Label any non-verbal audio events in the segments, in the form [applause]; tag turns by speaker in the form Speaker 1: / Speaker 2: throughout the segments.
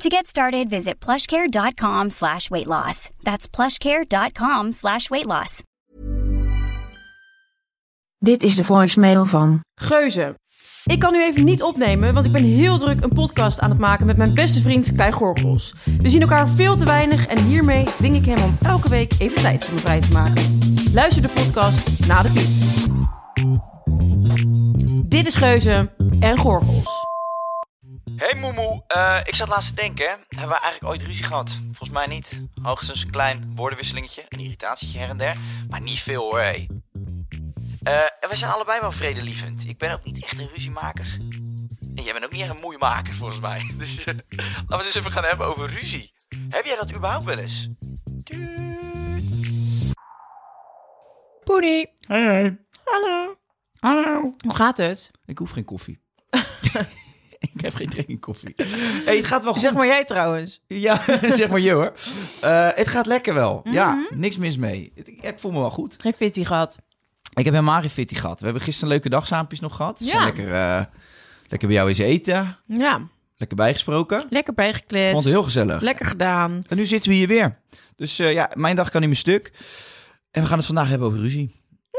Speaker 1: To get started, visit plushcare.com slash weight loss. That's plushcare.com slash weight loss.
Speaker 2: Dit is de voicemail van.
Speaker 3: Geuze. Ik kan nu even niet opnemen, want ik ben heel druk een podcast aan het maken met mijn beste vriend Kai Gorgels. We zien elkaar veel te weinig en hiermee dwing ik hem om elke week even tijd voor me vrij te maken. Luister de podcast na de piep. Dit is Geuze en Gorgels.
Speaker 4: Hey Moemoe, Eh, ik zat laatst te denken, hè. hebben we eigenlijk ooit ruzie gehad? Volgens mij niet. Hoogstens een klein woordenwisselingetje, een irritatietje her en der. Maar niet veel hoor, hé. Eh, en we zijn allebei wel vredelievend. Ik ben ook niet echt een ruziemaker. En jij bent ook niet echt een moeimaker, volgens mij. [laughs] Dus eh, laten we het eens even gaan hebben over ruzie. Heb jij dat überhaupt wel eens?
Speaker 3: Poenie,
Speaker 4: Hey,
Speaker 3: hallo.
Speaker 4: Hallo.
Speaker 3: Hoe gaat het?
Speaker 4: Ik hoef geen [laughs] koffie. ik heb geen drinken koffie. hey, het [laughs] gaat wel goed.
Speaker 3: Zeg maar jij trouwens.
Speaker 4: Ja, [laughs] zeg maar je hoor. Eh, het gaat lekker wel. Ja,
Speaker 3: Mhm.
Speaker 4: niks mis mee. Het- Ik, ik voel me wel goed.
Speaker 3: Geen fitty gehad.
Speaker 4: Ik heb helemaal geen fitty gehad. We hebben gisteren leuke dagsaampjes nog gehad. Ze
Speaker 3: Ja.
Speaker 4: zijn lekker, eh, lekker bij jou eens eten.
Speaker 3: Ja,
Speaker 4: Lekker bijgesproken.
Speaker 3: lekker bijgekletst.
Speaker 4: Vond het heel gezellig.
Speaker 3: Lekker gedaan.
Speaker 4: En nu zitten we hier weer. Dus eh, ja, mijn dag kan niet meer stuk. En we gaan het vandaag hebben over ruzie.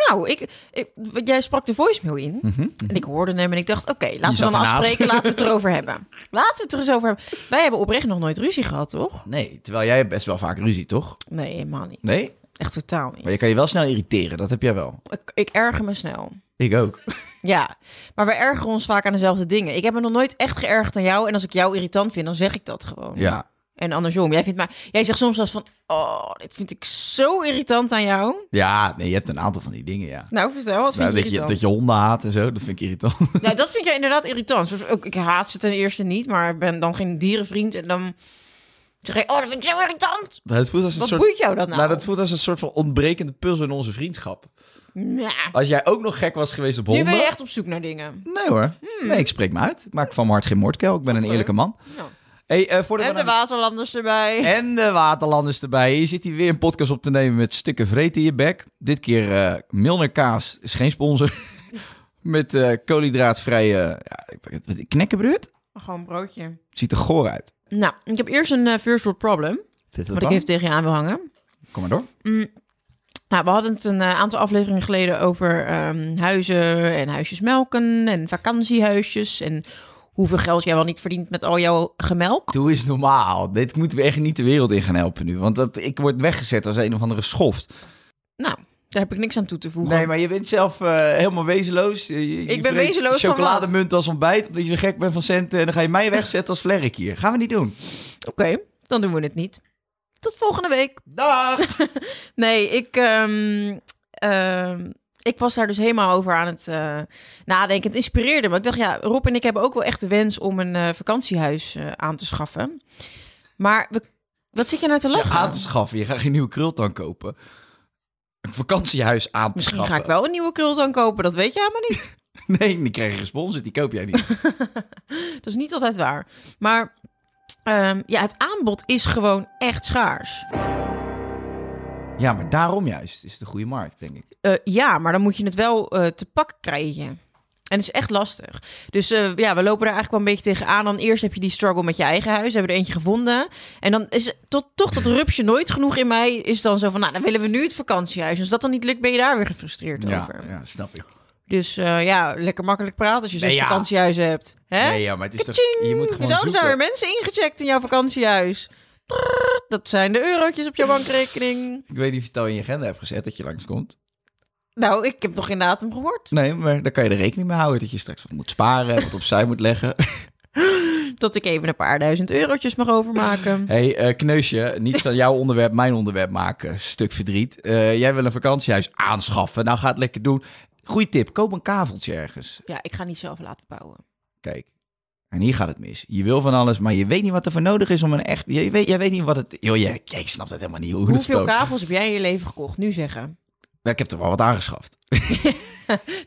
Speaker 3: Nou, ik, ik, want jij sprak de voicemail in. En ik hoorde hem en ik dacht, oké, laten
Speaker 4: Mhm. zat
Speaker 3: we dan
Speaker 4: ernaast.
Speaker 3: afspreken. Laten we het
Speaker 4: [laughs]
Speaker 3: erover hebben. Laten we het er eens over hebben. Wij hebben oprecht nog nooit ruzie gehad, toch?
Speaker 4: Nee, terwijl jij hebt best wel vaak ruzie, toch?
Speaker 3: Nee, helemaal niet.
Speaker 4: Nee?
Speaker 3: Echt totaal niet.
Speaker 4: Maar je kan je wel snel irriteren. Dat heb jij wel.
Speaker 3: Ik, ik erger me snel.
Speaker 4: Ik ook.
Speaker 3: Ja, maar we ergeren ons vaak aan dezelfde dingen. Ik heb me nog nooit echt geërgerd aan jou. En als ik jou irritant vind, dan zeg ik dat gewoon.
Speaker 4: Ja.
Speaker 3: En andersom. Jij, vindt mij, jij zegt soms als van, oh, dit vind ik zo irritant aan jou.
Speaker 4: Ja, nee, je hebt een aantal van die dingen, ja.
Speaker 3: Nou, vertel, wat vind
Speaker 4: Nou,
Speaker 3: je
Speaker 4: dat, je,
Speaker 3: irritant?
Speaker 4: dat je honden haat en zo, dat vind ik irritant.
Speaker 3: Nou, dat vind jij inderdaad irritant. Dus ook, ik haat ze ten eerste niet, maar ik ben dan geen dierenvriend. En dan zeg je, oh, dat vind ik zo irritant.
Speaker 4: Het voelt als een
Speaker 3: Wat
Speaker 4: soort...
Speaker 3: boeit jou dat nou?
Speaker 4: Nou, dat voelt als een soort van ontbrekende puzzel in onze vriendschap.
Speaker 3: Ja.
Speaker 4: Als jij ook nog gek was geweest op
Speaker 3: Nu
Speaker 4: honden...
Speaker 3: ben je echt Hmm. op zoek naar dingen.
Speaker 4: Nee hoor. Nee, ik spreek me uit. Ik maak van mijn hart geen moordkel. Ik ben een eerlijke man.
Speaker 3: Nou.
Speaker 4: Hey, eh, voordat
Speaker 3: En
Speaker 4: we
Speaker 3: de
Speaker 4: naar-
Speaker 3: waterlanders erbij.
Speaker 4: en de waterlanders erbij. Hier zit hij weer een podcast op te nemen met stukken vreet in je bek. Dit keer eh Milner Kaas is geen sponsor. [laughs] met eh koolhydraatvrije ja, ik weet het, knekkenbreud.
Speaker 3: Gewoon een broodje.
Speaker 4: Ziet er goor uit.
Speaker 3: Nou, ik heb eerst een eh, first world problem.
Speaker 4: Zit dat
Speaker 3: Wat ik
Speaker 4: dan?
Speaker 3: even tegen je aan wil hangen.
Speaker 4: Kom maar door.
Speaker 3: Nou, we hadden het een eh, aantal afleveringen geleden over ehm, huizen en huisjes melken en vakantiehuisjes. En hoeveel geld jij wel niet verdient met al jouw gemelk.
Speaker 4: Doe eens normaal. Dit moeten we echt niet de wereld in gaan helpen nu. Want dat, ik word weggezet als een of andere schoft.
Speaker 3: Nou, daar heb ik niks aan toe te voegen.
Speaker 4: Nee, maar je bent zelf eh, helemaal wezenloos. Je- je- je
Speaker 3: Ik ben
Speaker 4: vreet
Speaker 3: wezenloos van
Speaker 4: chocolademunt als ontbijt, omdat je zo gek bent van centen. En dan ga je mij wegzetten als vlerk hier. Gaan we niet doen.
Speaker 3: Oké, dan doen we het niet. Tot volgende week.
Speaker 4: Dag!
Speaker 3: Nee, ik, ehm, ehm, ik was daar dus helemaal over aan het eh, nadenken. Het inspireerde me. Ik dacht, ja, Rob en ik hebben ook wel echt de wens om een eh, vakantiehuis eh, aan te schaffen. Maar we, wat zit je nou te
Speaker 4: [laughs] Je
Speaker 3: lachen?
Speaker 4: aan te schaffen. Je gaat geen nieuwe krultang kopen. Een vakantiehuis aan te
Speaker 3: Misschien
Speaker 4: schaffen.
Speaker 3: ga ik wel een nieuwe krultang kopen. Dat weet je helemaal
Speaker 4: [laughs]
Speaker 3: niet.
Speaker 4: Nee, die krijg je gesponsord. Die koop jij niet.
Speaker 3: dat is niet altijd waar. Maar ehm, ja, het aanbod is gewoon echt schaars.
Speaker 4: ja, maar daarom juist is het een goede markt, denk ik.
Speaker 3: Eh, ja, maar dan moet je het wel eh, te pakken krijgen. En dat is echt lastig. Dus eh, ja, we lopen daar eigenlijk wel een beetje tegenaan. Dan eerst heb je die struggle met je eigen huis. Hebben we er eentje gevonden. En dan is het tot, toch dat rupsje nooit genoeg in mij. Is dan zo van, nou, dan willen we nu het vakantiehuis. En als dat dan niet lukt, ben je daar weer gefrustreerd
Speaker 4: Ja,
Speaker 3: over.
Speaker 4: ja, snap ik.
Speaker 3: Dus eh, ja, lekker makkelijk praten als je zes
Speaker 4: Nee, ja.
Speaker 3: vakantiehuizen hebt. Hè?
Speaker 4: Nee, ja, maar het is toch...
Speaker 3: Kaching!
Speaker 4: Je moet gewoon
Speaker 3: Zo, er zijn
Speaker 4: zoeken.
Speaker 3: weer mensen ingecheckt in jouw vakantiehuis. Trrr, Dat zijn de eurotjes op jouw bankrekening.
Speaker 4: Ik weet niet of je het al in je agenda hebt gezet dat je langskomt.
Speaker 3: Nou, ik heb nog geen datum gehoord.
Speaker 4: Nee, maar daar kan je er rekening mee houden dat je straks wat moet sparen, wat opzij moet
Speaker 3: [laughs]
Speaker 4: leggen.
Speaker 3: Dat ik even een paar duizend eurotjes mag overmaken.
Speaker 4: [laughs] hey, eh, kneusje, niet van jouw onderwerp mijn onderwerp maken. Stuk verdriet. Eh, jij wil een vakantiehuis aanschaffen. Nou, ga het lekker doen. Goeie tip, koop een kaveltje ergens.
Speaker 3: Ja, ik ga niet zelf laten bouwen.
Speaker 4: Kijk, en hier gaat het mis. Je wil van alles, maar je weet niet wat er voor nodig is om een echt... Je weet, jij weet niet wat het... Joh, jij, jij snapt het helemaal niet hoe het
Speaker 3: Hoeveel
Speaker 4: spookt.
Speaker 3: kabels heb jij in je leven gekocht? Nu zeggen.
Speaker 4: Nou, Ik heb er wel wat aangeschaft.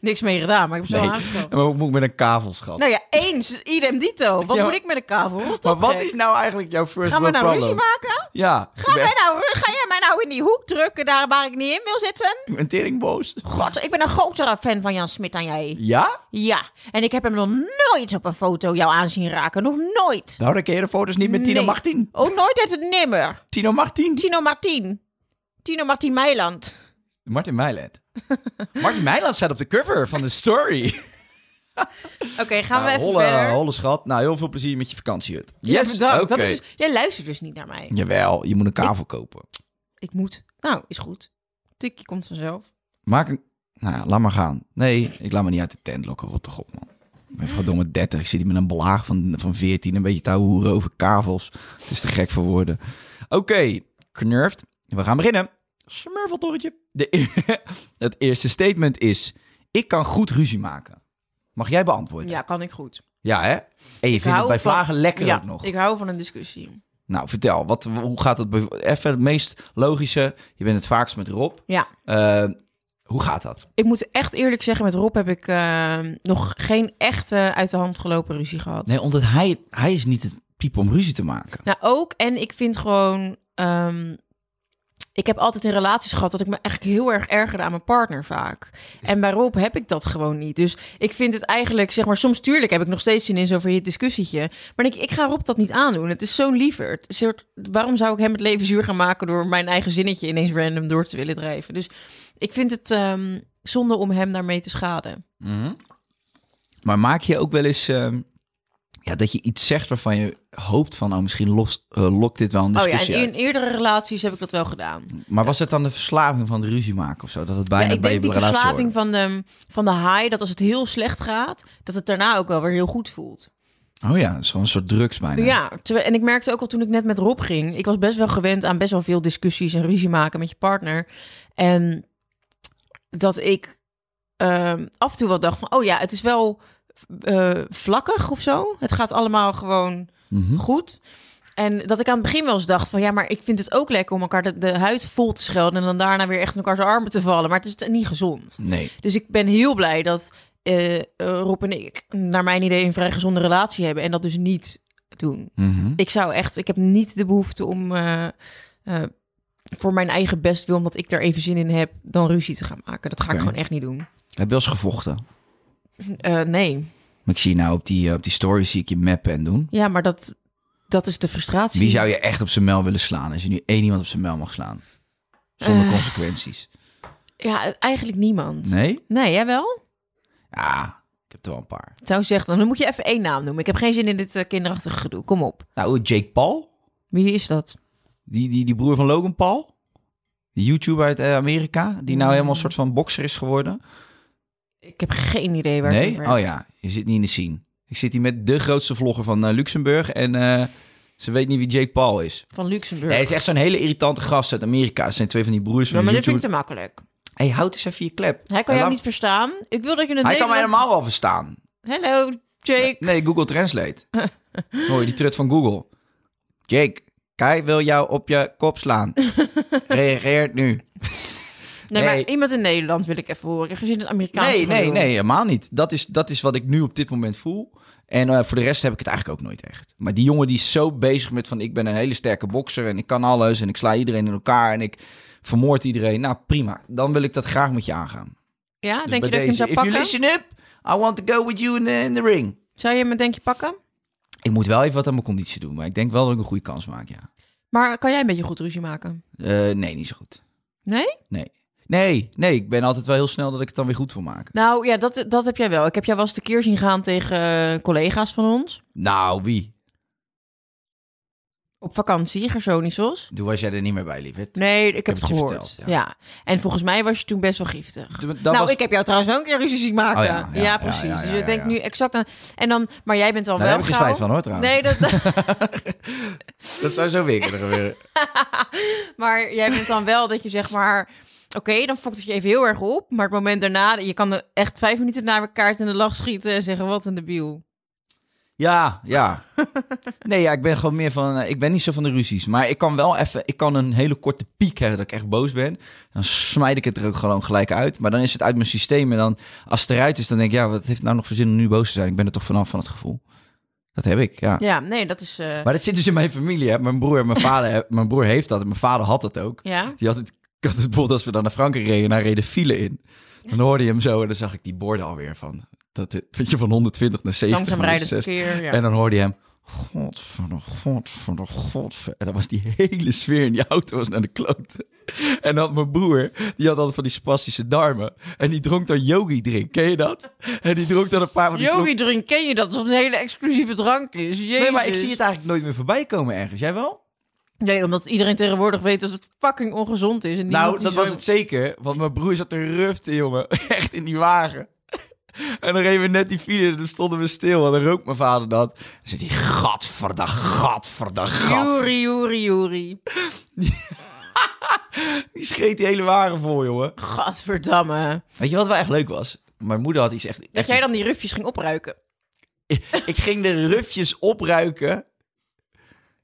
Speaker 3: Niks mee gedaan, maar ik heb ze
Speaker 4: Nee.
Speaker 3: wel aangekomen.
Speaker 4: En wat moet ik met een kavel, schat?
Speaker 3: Nou ja, eens, idem dito. Wat
Speaker 4: Ja,
Speaker 3: moet ik met een kavel? Rot
Speaker 4: maar
Speaker 3: op,
Speaker 4: wat
Speaker 3: gek.
Speaker 4: is nou eigenlijk jouw first
Speaker 3: Gaan we
Speaker 4: world
Speaker 3: nou ruzie
Speaker 4: problem?
Speaker 3: maken?
Speaker 4: Ja.
Speaker 3: Ga,
Speaker 4: ik ben
Speaker 3: wij
Speaker 4: echt-
Speaker 3: nou, ga jij mij nou in die hoek drukken daar waar ik niet in wil zitten?
Speaker 4: Ik ben teringboos.
Speaker 3: God, ik ben een grotere fan van Jan Smit dan jij.
Speaker 4: Ja?
Speaker 3: Ja, en ik heb hem nog nooit op een foto jou aanzien raken. Nog nooit.
Speaker 4: Nou, dan ken je de foto's niet met Tino
Speaker 3: Nee.
Speaker 4: Martin.
Speaker 3: Ook nooit uit het nimmer.
Speaker 4: Tino Martin.
Speaker 3: Tino Martin. Tino Martin Meiland.
Speaker 4: Martin
Speaker 3: [laughs]
Speaker 4: Meiland. Martin Meiland staat op de cover van de story.
Speaker 3: Oké, gaan we
Speaker 4: Nou,
Speaker 3: even
Speaker 4: holle,
Speaker 3: verder.
Speaker 4: holle schat. Nou, heel veel plezier met je vakantiehut.
Speaker 3: Ja,
Speaker 4: Yes,
Speaker 3: bedankt. Dat
Speaker 4: oké.
Speaker 3: is dus- jij luistert dus niet naar mij.
Speaker 4: Jawel, je moet een kavel kopen.
Speaker 3: Ik moet. Nou, is goed. Tikkie komt vanzelf.
Speaker 4: Maak een... Nou, ja, laat maar gaan. Nee, ik laat me niet uit de tent lokken. Rot toch op, man. Ik ben verdomme 30. Ik zit hier met een belaag van, van 14. Een beetje te hoeren over kavels. Het is te gek voor woorden. Oké, knurft. We gaan beginnen. Smurfeltorretje. De e- [laughs] het eerste statement is... Ik kan goed ruzie maken. Mag jij beantwoorden?
Speaker 3: Ja, kan ik goed.
Speaker 4: Ja, hè? En je vindt het
Speaker 3: hou
Speaker 4: bij
Speaker 3: van-
Speaker 4: vlagen lekker
Speaker 3: ja,
Speaker 4: ook nog.
Speaker 3: ik hou van een discussie.
Speaker 4: Nou, vertel. Wat, hoe gaat het? bev- Even het meest logische. Je bent het vaakst met Rob.
Speaker 3: Ja,
Speaker 4: Eh, hoe gaat dat?
Speaker 3: ik moet echt eerlijk zeggen, met Rob heb ik eh, nog geen echte uit de hand gelopen ruzie gehad.
Speaker 4: Nee, omdat hij, hij is niet het type om ruzie te maken.
Speaker 3: Nou, ook. En ik vind gewoon... ehm, ik heb altijd in relaties gehad dat ik me eigenlijk heel erg ergerde aan mijn partner vaak. En bij Rob heb ik dat gewoon niet. Dus ik vind het eigenlijk, zeg maar, soms tuurlijk heb ik nog steeds zin in zo'n verhit discussietje. Maar ik, ik ga Rob dat niet aandoen. Het is zo'n lieverd. Een soort, waarom zou ik hem het leven zuur gaan maken door mijn eigen zinnetje ineens random door te willen drijven? Dus ik vind het ehm, zonde om hem daarmee te schaden.
Speaker 4: Maar maak je ook wel eens ehm, ja, dat je iets zegt waarvan je hoopt van... nou, misschien los, eh, lokt dit wel een
Speaker 3: Oh ja,
Speaker 4: discussie
Speaker 3: en in
Speaker 4: uit.
Speaker 3: eerdere relaties heb ik dat wel gedaan.
Speaker 4: Maar was het dan de verslaving van de ruzie maken of zo? Dat het bijna
Speaker 3: ja, ik
Speaker 4: bij
Speaker 3: denk
Speaker 4: je
Speaker 3: die
Speaker 4: relatie
Speaker 3: verslaving
Speaker 4: hoorde?
Speaker 3: van de, van de high, dat als het heel slecht gaat, dat het daarna ook wel weer heel goed voelt.
Speaker 4: Oh ja, zo'n soort drugs bijna.
Speaker 3: Ja, terwijl- en ik merkte ook al toen ik net met Rob ging, ik was best wel gewend aan best wel veel discussies en ruzie maken met je partner. En dat ik ehm, af en toe wel dacht van, oh ja, het is wel eh, vlakkig of zo. Het gaat allemaal gewoon
Speaker 4: Mhm.
Speaker 3: goed. En dat ik aan het begin wel eens dacht van ja, maar ik vind het ook lekker om elkaar de, de huid vol te schelden en dan daarna weer echt in elkaars armen te vallen. Maar het is niet gezond.
Speaker 4: Nee.
Speaker 3: Dus ik ben heel blij dat eh, eh, Rob en ik, naar mijn idee, een vrij gezonde relatie hebben en dat dus niet doen.
Speaker 4: Mhm.
Speaker 3: Ik zou echt, ik heb niet de behoefte om eh, eh, voor mijn eigen best wil, omdat ik daar even zin in heb, dan ruzie te gaan maken. Dat ga
Speaker 4: Oké.
Speaker 3: ik gewoon echt niet doen.
Speaker 4: Heb je wel eens gevochten?
Speaker 3: Eh, nee.
Speaker 4: Maar ik zie nou op die, eh, op die story zie ik je mappen en doen.
Speaker 3: Ja, maar dat, dat is de frustratie.
Speaker 4: Wie zou je echt op zijn mel willen slaan? Als je nu één iemand op zijn mel mag slaan. Zonder
Speaker 3: Eh.
Speaker 4: consequenties.
Speaker 3: Ja, eigenlijk niemand.
Speaker 4: Nee?
Speaker 3: Nee, jij wel?
Speaker 4: Ja, ik heb er wel een paar.
Speaker 3: Zou zeggen, dan moet je even één naam noemen. Ik heb geen zin in dit eh, kinderachtige gedoe. Kom op.
Speaker 4: Nou, Jake Paul.
Speaker 3: Wie is dat?
Speaker 4: Die, die, die broer van Logan Paul. Die YouTuber uit eh, Amerika. Die nou
Speaker 3: Mm.
Speaker 4: helemaal een soort van bokser is geworden.
Speaker 3: Ik heb geen idee waar het
Speaker 4: Nee?
Speaker 3: over
Speaker 4: Oh ja, je zit niet in de scene. Ik zit hier met de grootste vlogger van eh, Luxemburg. En eh, ze weet niet wie Jake Paul is.
Speaker 3: Van Luxemburg.
Speaker 4: Nee, hij is echt zo'n hele irritante gast uit Amerika. Het zijn twee van die broers van
Speaker 3: Ja, maar dit
Speaker 4: YouTube.
Speaker 3: vind ik te makkelijk.
Speaker 4: Hey, houd eens even je klep.
Speaker 3: Hij kan jou
Speaker 4: En laat-
Speaker 3: niet verstaan. Ik wil dat je een
Speaker 4: Hij kan
Speaker 3: Nederland-
Speaker 4: mij helemaal wel verstaan.
Speaker 3: Hallo, Jake.
Speaker 4: Nee, Google
Speaker 3: [laughs]
Speaker 4: Translate. Hoor je die trut van Google? Jake, Kai wil jou op je
Speaker 3: [laughs]
Speaker 4: kop slaan. Reageer nu.
Speaker 3: Nee,
Speaker 4: nee.
Speaker 3: maar iemand in Nederland wil ik even horen. Ik heb geen zin in het Amerikaanse
Speaker 4: Nee, nee,
Speaker 3: gedoe.
Speaker 4: nee, helemaal niet. Dat is, dat is wat ik nu op dit moment voel. En eh, voor de rest heb ik het eigenlijk ook nooit echt. Maar die jongen die is zo bezig met van... ik ben een hele sterke bokser en ik kan alles... en ik sla iedereen in elkaar en ik vermoord iedereen. Nou, prima. Dan wil ik dat graag met je aangaan.
Speaker 3: Ja,
Speaker 4: Dus
Speaker 3: Ah, denk je dat
Speaker 4: bij
Speaker 3: ik hem zou
Speaker 4: If
Speaker 3: pakken?
Speaker 4: you listen up, I want to go with you in the, in the ring.
Speaker 3: Zou je me denk je pakken?
Speaker 4: Ik moet wel even wat aan mijn conditie doen... maar ik denk wel dat ik een goede kans maak, ja.
Speaker 3: Maar kan jij een beetje goed ruzie maken?
Speaker 4: Eh, nee, niet zo goed.
Speaker 3: Nee?
Speaker 4: Nee. Nee, nee, ik ben altijd wel heel snel dat ik het dan weer goed wil maken.
Speaker 3: Nou ja, dat, dat heb jij wel. Ik heb jou wel eens tekeer zien gaan tegen eh, collega's van ons.
Speaker 4: Nou, wie?
Speaker 3: op vakantie, Gersonisos.
Speaker 4: Toen was jij er niet meer bij, lieverd.
Speaker 3: Nee, ik heb,
Speaker 4: heb
Speaker 3: het
Speaker 4: het je
Speaker 3: gehoord.
Speaker 4: verteld,
Speaker 3: ja. En volgens mij was je toen best wel giftig.
Speaker 4: Toen- dat
Speaker 3: nou,
Speaker 4: was-
Speaker 3: ik heb jou trouwens wel een keer ruzie zien maken.
Speaker 4: Oh ja,
Speaker 3: ja,
Speaker 4: ja, ja,
Speaker 3: precies.
Speaker 4: ja, ja,
Speaker 3: dus
Speaker 4: ja,
Speaker 3: ik denk
Speaker 4: ja.
Speaker 3: nu exact aan... En dan, maar jij bent dan
Speaker 4: Nou, daar
Speaker 3: wel
Speaker 4: heb ik er
Speaker 3: gauw.
Speaker 4: spijt van, hoor, trouwens.
Speaker 3: Nee, dat,
Speaker 4: Dat zou zo weer kunnen gebeuren.
Speaker 3: Maar jij bent dan wel dat je zeg maar... Oké, dan fokt het je even heel erg op. Maar het moment daarna... Je kan er echt vijf minuten na elkaar kaart in de lach schieten... en zeggen, wat een debiel.
Speaker 4: Ja, ja. Nee, ja, ik ben gewoon meer van... eh, ik ben niet zo van de ruzies. Maar ik kan wel even... Ik kan een hele korte piek hebben dat ik echt boos ben. Dan smijt ik het er ook gewoon gelijk uit. Maar dan is het uit mijn systeem. En dan, als het eruit is, dan denk ik... Ja, wat heeft nou nog voor zin om nu boos te zijn? Ik ben er toch vanaf van het gevoel. Dat heb ik, ja.
Speaker 3: Ja, nee, dat is... eh,
Speaker 4: Maar dat zit dus in mijn familie, hè. Mijn broer en mijn vader...
Speaker 3: [laughs]
Speaker 4: heb- mijn broer heeft dat en mijn vader had dat ook.
Speaker 3: Ja?
Speaker 4: Die had het, ik had het bijvoorbeeld als we dan naar Frankrijk reden en daar reden file in. Dan hoorde je hem zo en dan zag ik die borden alweer van... Dat het, weet je, van 120 naar 70.
Speaker 3: Langzaam
Speaker 4: naar
Speaker 3: rijden
Speaker 4: 60.
Speaker 3: verkeer. Ja.
Speaker 4: En dan hoorde je hem. Godverdomme, godverdomme, godverdomme. En dan was die hele sfeer in die auto was naar de kloot. En dan had mijn broer, die had altijd van die spastische darmen. En die dronk dan yogi drink, ken je dat? En die dronk dan een paar van die slok-
Speaker 3: Yogi drink, ken je dat? Alsof het een hele exclusieve drank is. Jezus.
Speaker 4: Nee, maar ik zie het eigenlijk nooit meer voorbij komen ergens. Jij wel?
Speaker 3: Nee, omdat iedereen tegenwoordig weet dat het fucking ongezond is. En niemand
Speaker 4: nou,
Speaker 3: die
Speaker 4: dat
Speaker 3: zo-
Speaker 4: was het zeker. Want mijn broer zat te ruften, jongen. [laughs] Echt in die wagen. En dan reden we net die file en dan stonden we stil. En dan rookt mijn vader dat. Dan zei hij, gadverdag, gadverdag, gadverdag.
Speaker 3: Joeri, joeri, joeri.
Speaker 4: Die scheet die hele wagen vol, jongen.
Speaker 3: Gadverdamme.
Speaker 4: Weet je wat wel echt leuk was? Mijn moeder had iets echt...
Speaker 3: Dat jij dan die rufjes ging opruiken.
Speaker 4: [laughs] Ik ging de rufjes opruiken.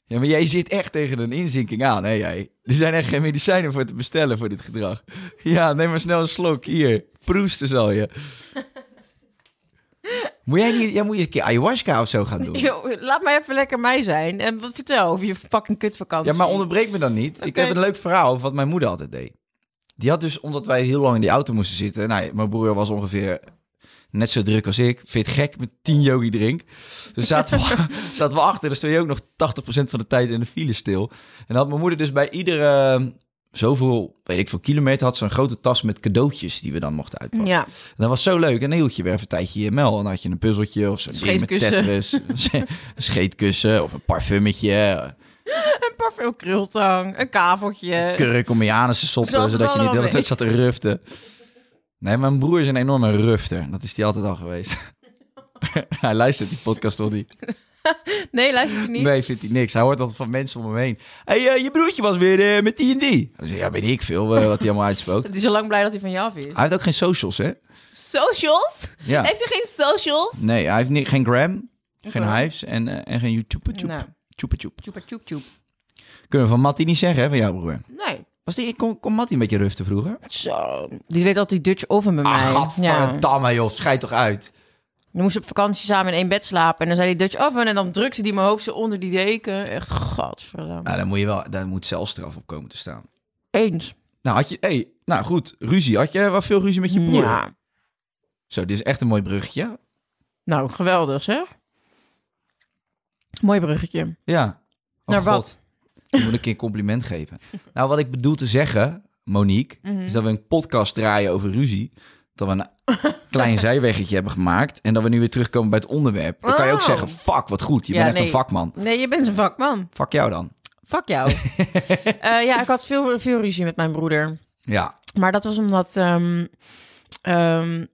Speaker 4: Ja, maar jij zit echt tegen een inzinking aan, hè jij? Er zijn echt geen medicijnen voor te bestellen voor dit gedrag. [laughs] Ja, neem maar snel een slok. Hier, proesten zal
Speaker 3: [laughs]
Speaker 4: je. Moet jij, niet, jij moet eens een keer ayahuasca of zo gaan
Speaker 3: [laughs]
Speaker 4: doen.
Speaker 3: Yo, laat mij even lekker mij zijn. En wat vertel over je fucking kutvakantie.
Speaker 4: Ja, maar onderbreek me dan niet. Ik
Speaker 3: Oké.
Speaker 4: heb een leuk verhaal over wat mijn moeder altijd deed. Die had dus, omdat wij heel lang in die auto moesten zitten... Nou, mijn broer was ongeveer net zo druk als ik. Vind je het gek met 10 yogi drink? Dus
Speaker 3: [laughs]
Speaker 4: zaten we, [laughs] zaten we achter. Dus stond je ook nog 80% van de tijd in de file stil. En dan had mijn moeder dus bij iedere... eh, Zoveel, weet ik veel, kilometer had ze een grote tas met cadeautjes die we dan mochten uitpakken.
Speaker 3: Ja,
Speaker 4: En dat was zo leuk. En dan hield je weer even een tijdje je mel. En dan had je een puzzeltje of zo'n ding met
Speaker 3: Scheetkussen.
Speaker 4: Tetris. [laughs] een scheetkussen of een parfummetje.
Speaker 3: een parfum krultang, een kaveltje.
Speaker 4: kurk om je anus te
Speaker 3: Zat
Speaker 4: soppen,
Speaker 3: er
Speaker 4: zodat je niet de hele
Speaker 3: allemaal
Speaker 4: tijd zat te ruften. Nee, mijn broer is een enorme rufter. Dat is hij altijd al geweest. [laughs] hij luistert die podcast toch niet?
Speaker 3: nee, luister je niet?
Speaker 4: Nee, vindt hij niks. Hij hoort altijd van mensen om hem heen. Hé, hey, eh, je broertje was weer eh, met die en die. Dan zeg je, ja, weet ik veel eh, wat hij allemaal
Speaker 3: [laughs]
Speaker 4: uitspookt.
Speaker 3: Het is al lang blij dat hij van je af is.
Speaker 4: Hij heeft ook geen socials, hè?
Speaker 3: Socials?
Speaker 4: Ja.
Speaker 3: Heeft hij geen socials?
Speaker 4: Nee, hij heeft niet, geen gram, geen
Speaker 3: Oké.
Speaker 4: hives en, eh, en geen YouTube.
Speaker 3: Nou.
Speaker 4: Tjoep, tjoep.
Speaker 3: Tjoepa tjoep tjoep.
Speaker 4: Kunnen we van Matty niet zeggen, hè, van jouw broer.
Speaker 3: Nee.
Speaker 4: Was die, kon, kon Matty een beetje ruften vroeger?
Speaker 3: Zo. Die deed altijd die Dutch oven met mij.
Speaker 4: Ah,
Speaker 3: ja.
Speaker 4: gadverdamme joh, schijt toch uit.
Speaker 3: Dan moest op vakantie samen in één bed slapen. En dan zei die Dutch oven. En dan drukte die mijn hoofd zo onder die deken. Echt gadverdamme.
Speaker 4: Nou, daar moet je wel, daar moet zelfstraf op komen te staan.
Speaker 3: Eh. Eens.
Speaker 4: Nou, had je, hey, nou goed, ruzie. Had je wel veel ruzie met je broer?
Speaker 3: Ja.
Speaker 4: Zo, dit is echt een mooi bruggetje.
Speaker 3: Nou, geweldig zeg. Mooi bruggetje.
Speaker 4: Ja. Oh,
Speaker 3: Naar
Speaker 4: God.
Speaker 3: wat?
Speaker 4: Je moet een keer een compliment
Speaker 3: [laughs]
Speaker 4: geven. Nou, wat ik bedoel te zeggen, Monique,
Speaker 3: Mhm.
Speaker 4: is dat we een podcast draaien over ruzie. Dat
Speaker 3: [laughs]
Speaker 4: we een klein zijweggetje hebben gemaakt. En dat we nu weer terugkomen bij het onderwerp. Dan kan je ook
Speaker 3: Oh.
Speaker 4: zeggen, fuck, wat goed. Je
Speaker 3: Ja,
Speaker 4: bent echt
Speaker 3: nee.
Speaker 4: een vakman.
Speaker 3: Nee, je bent een vakman.
Speaker 4: Fuck jou dan.
Speaker 3: Fuck [laughs] jou. Eh, ja, ik had veel, veel ruzie met mijn broeder.
Speaker 4: Ja.
Speaker 3: Maar dat was omdat ehm, ehm,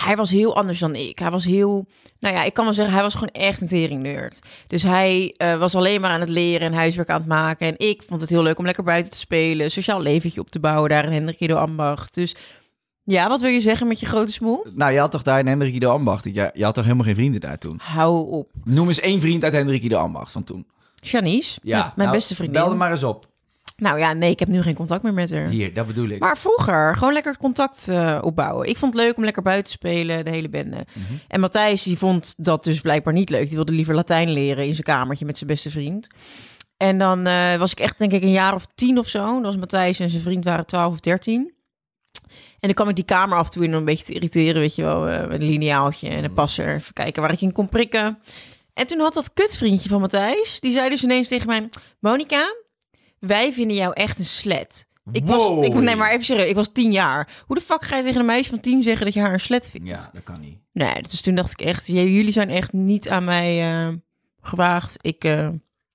Speaker 3: hij was heel anders dan ik. Hij was heel, nou ja, ik kan wel zeggen, hij was gewoon echt een teringneurt. Dus hij eh, was alleen maar aan het leren en huiswerk aan het maken. En ik vond het heel leuk om lekker buiten te spelen, sociaal leventje op te bouwen daar in Hendrik de Ambacht. Dus ja, wat wil je zeggen met je grote smoel?
Speaker 4: Nou, je had toch daar in Hendrik de Ambacht. Je, je had toch helemaal geen vrienden daar toen?
Speaker 3: Hou op.
Speaker 4: Noem eens één vriend uit Hendrik de Ambacht van toen.
Speaker 3: Janice,
Speaker 4: Ja.
Speaker 3: mijn- mijn
Speaker 4: nou,
Speaker 3: beste vriendin.
Speaker 4: Bel er maar eens op.
Speaker 3: Nou ja, nee, ik heb nu geen contact meer met haar.
Speaker 4: Hier, dat bedoel ik.
Speaker 3: Maar vroeger, gewoon lekker contact eh, opbouwen. Ik vond het leuk om lekker buiten te spelen, de hele bende.
Speaker 4: Mhm.
Speaker 3: En Matthijs, die vond dat dus blijkbaar niet leuk. Die wilde liever Latijn leren in zijn kamertje met zijn beste vriend. En dan eh, was ik echt, denk ik, een jaar of tien of zo. Dan was Matthijs en zijn vriend waren twaalf of dertien. En dan kwam ik die kamer af en toe in om een beetje te irriteren, weet je wel. eh, met een lineaaltje
Speaker 4: Mhm.
Speaker 3: en een passer. Even kijken waar ik in kon prikken. En toen had dat kutvriendje van Matthijs, die zei dus ineens tegen mij... Monica, wij vinden jou echt een slet. Ik
Speaker 4: Wow.
Speaker 3: was, ik, nee, maar even serieus, ik was tien jaar. Hoe de fuck ga je tegen een meisje van tien zeggen dat je haar een slet vindt?
Speaker 4: Ja, dat kan niet.
Speaker 3: Nee, dus toen dacht ik echt, j- jullie zijn echt niet aan mij eh, gewaagd. Ik eh,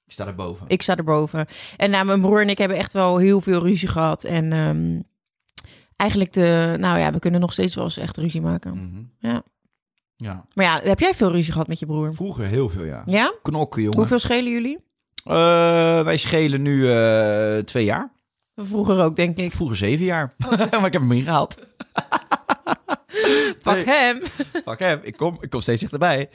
Speaker 4: Ik sta erboven.
Speaker 3: Ik sta erboven. En nou, mijn broer en ik hebben echt wel heel veel ruzie gehad. En ehm, eigenlijk de... Nou ja, we kunnen nog steeds wel eens echt ruzie maken.
Speaker 4: Mhm.
Speaker 3: Ja.
Speaker 4: Ja.
Speaker 3: Maar ja, heb jij veel ruzie gehad met je broer?
Speaker 4: Vroeger heel veel, ja.
Speaker 3: Ja?
Speaker 4: Knokken, jongen.
Speaker 3: Hoeveel schelen jullie?
Speaker 4: Eh, wij schelen nu eh, twee jaar.
Speaker 3: Vroeger ook, denk ik.
Speaker 4: Vroeger zeven jaar.
Speaker 3: Oh.
Speaker 4: [laughs] maar ik heb hem ingehaald.
Speaker 3: [laughs] Pak
Speaker 4: Nee.
Speaker 3: hem.
Speaker 4: Fuck hem, ik kom, ik kom steeds dichterbij.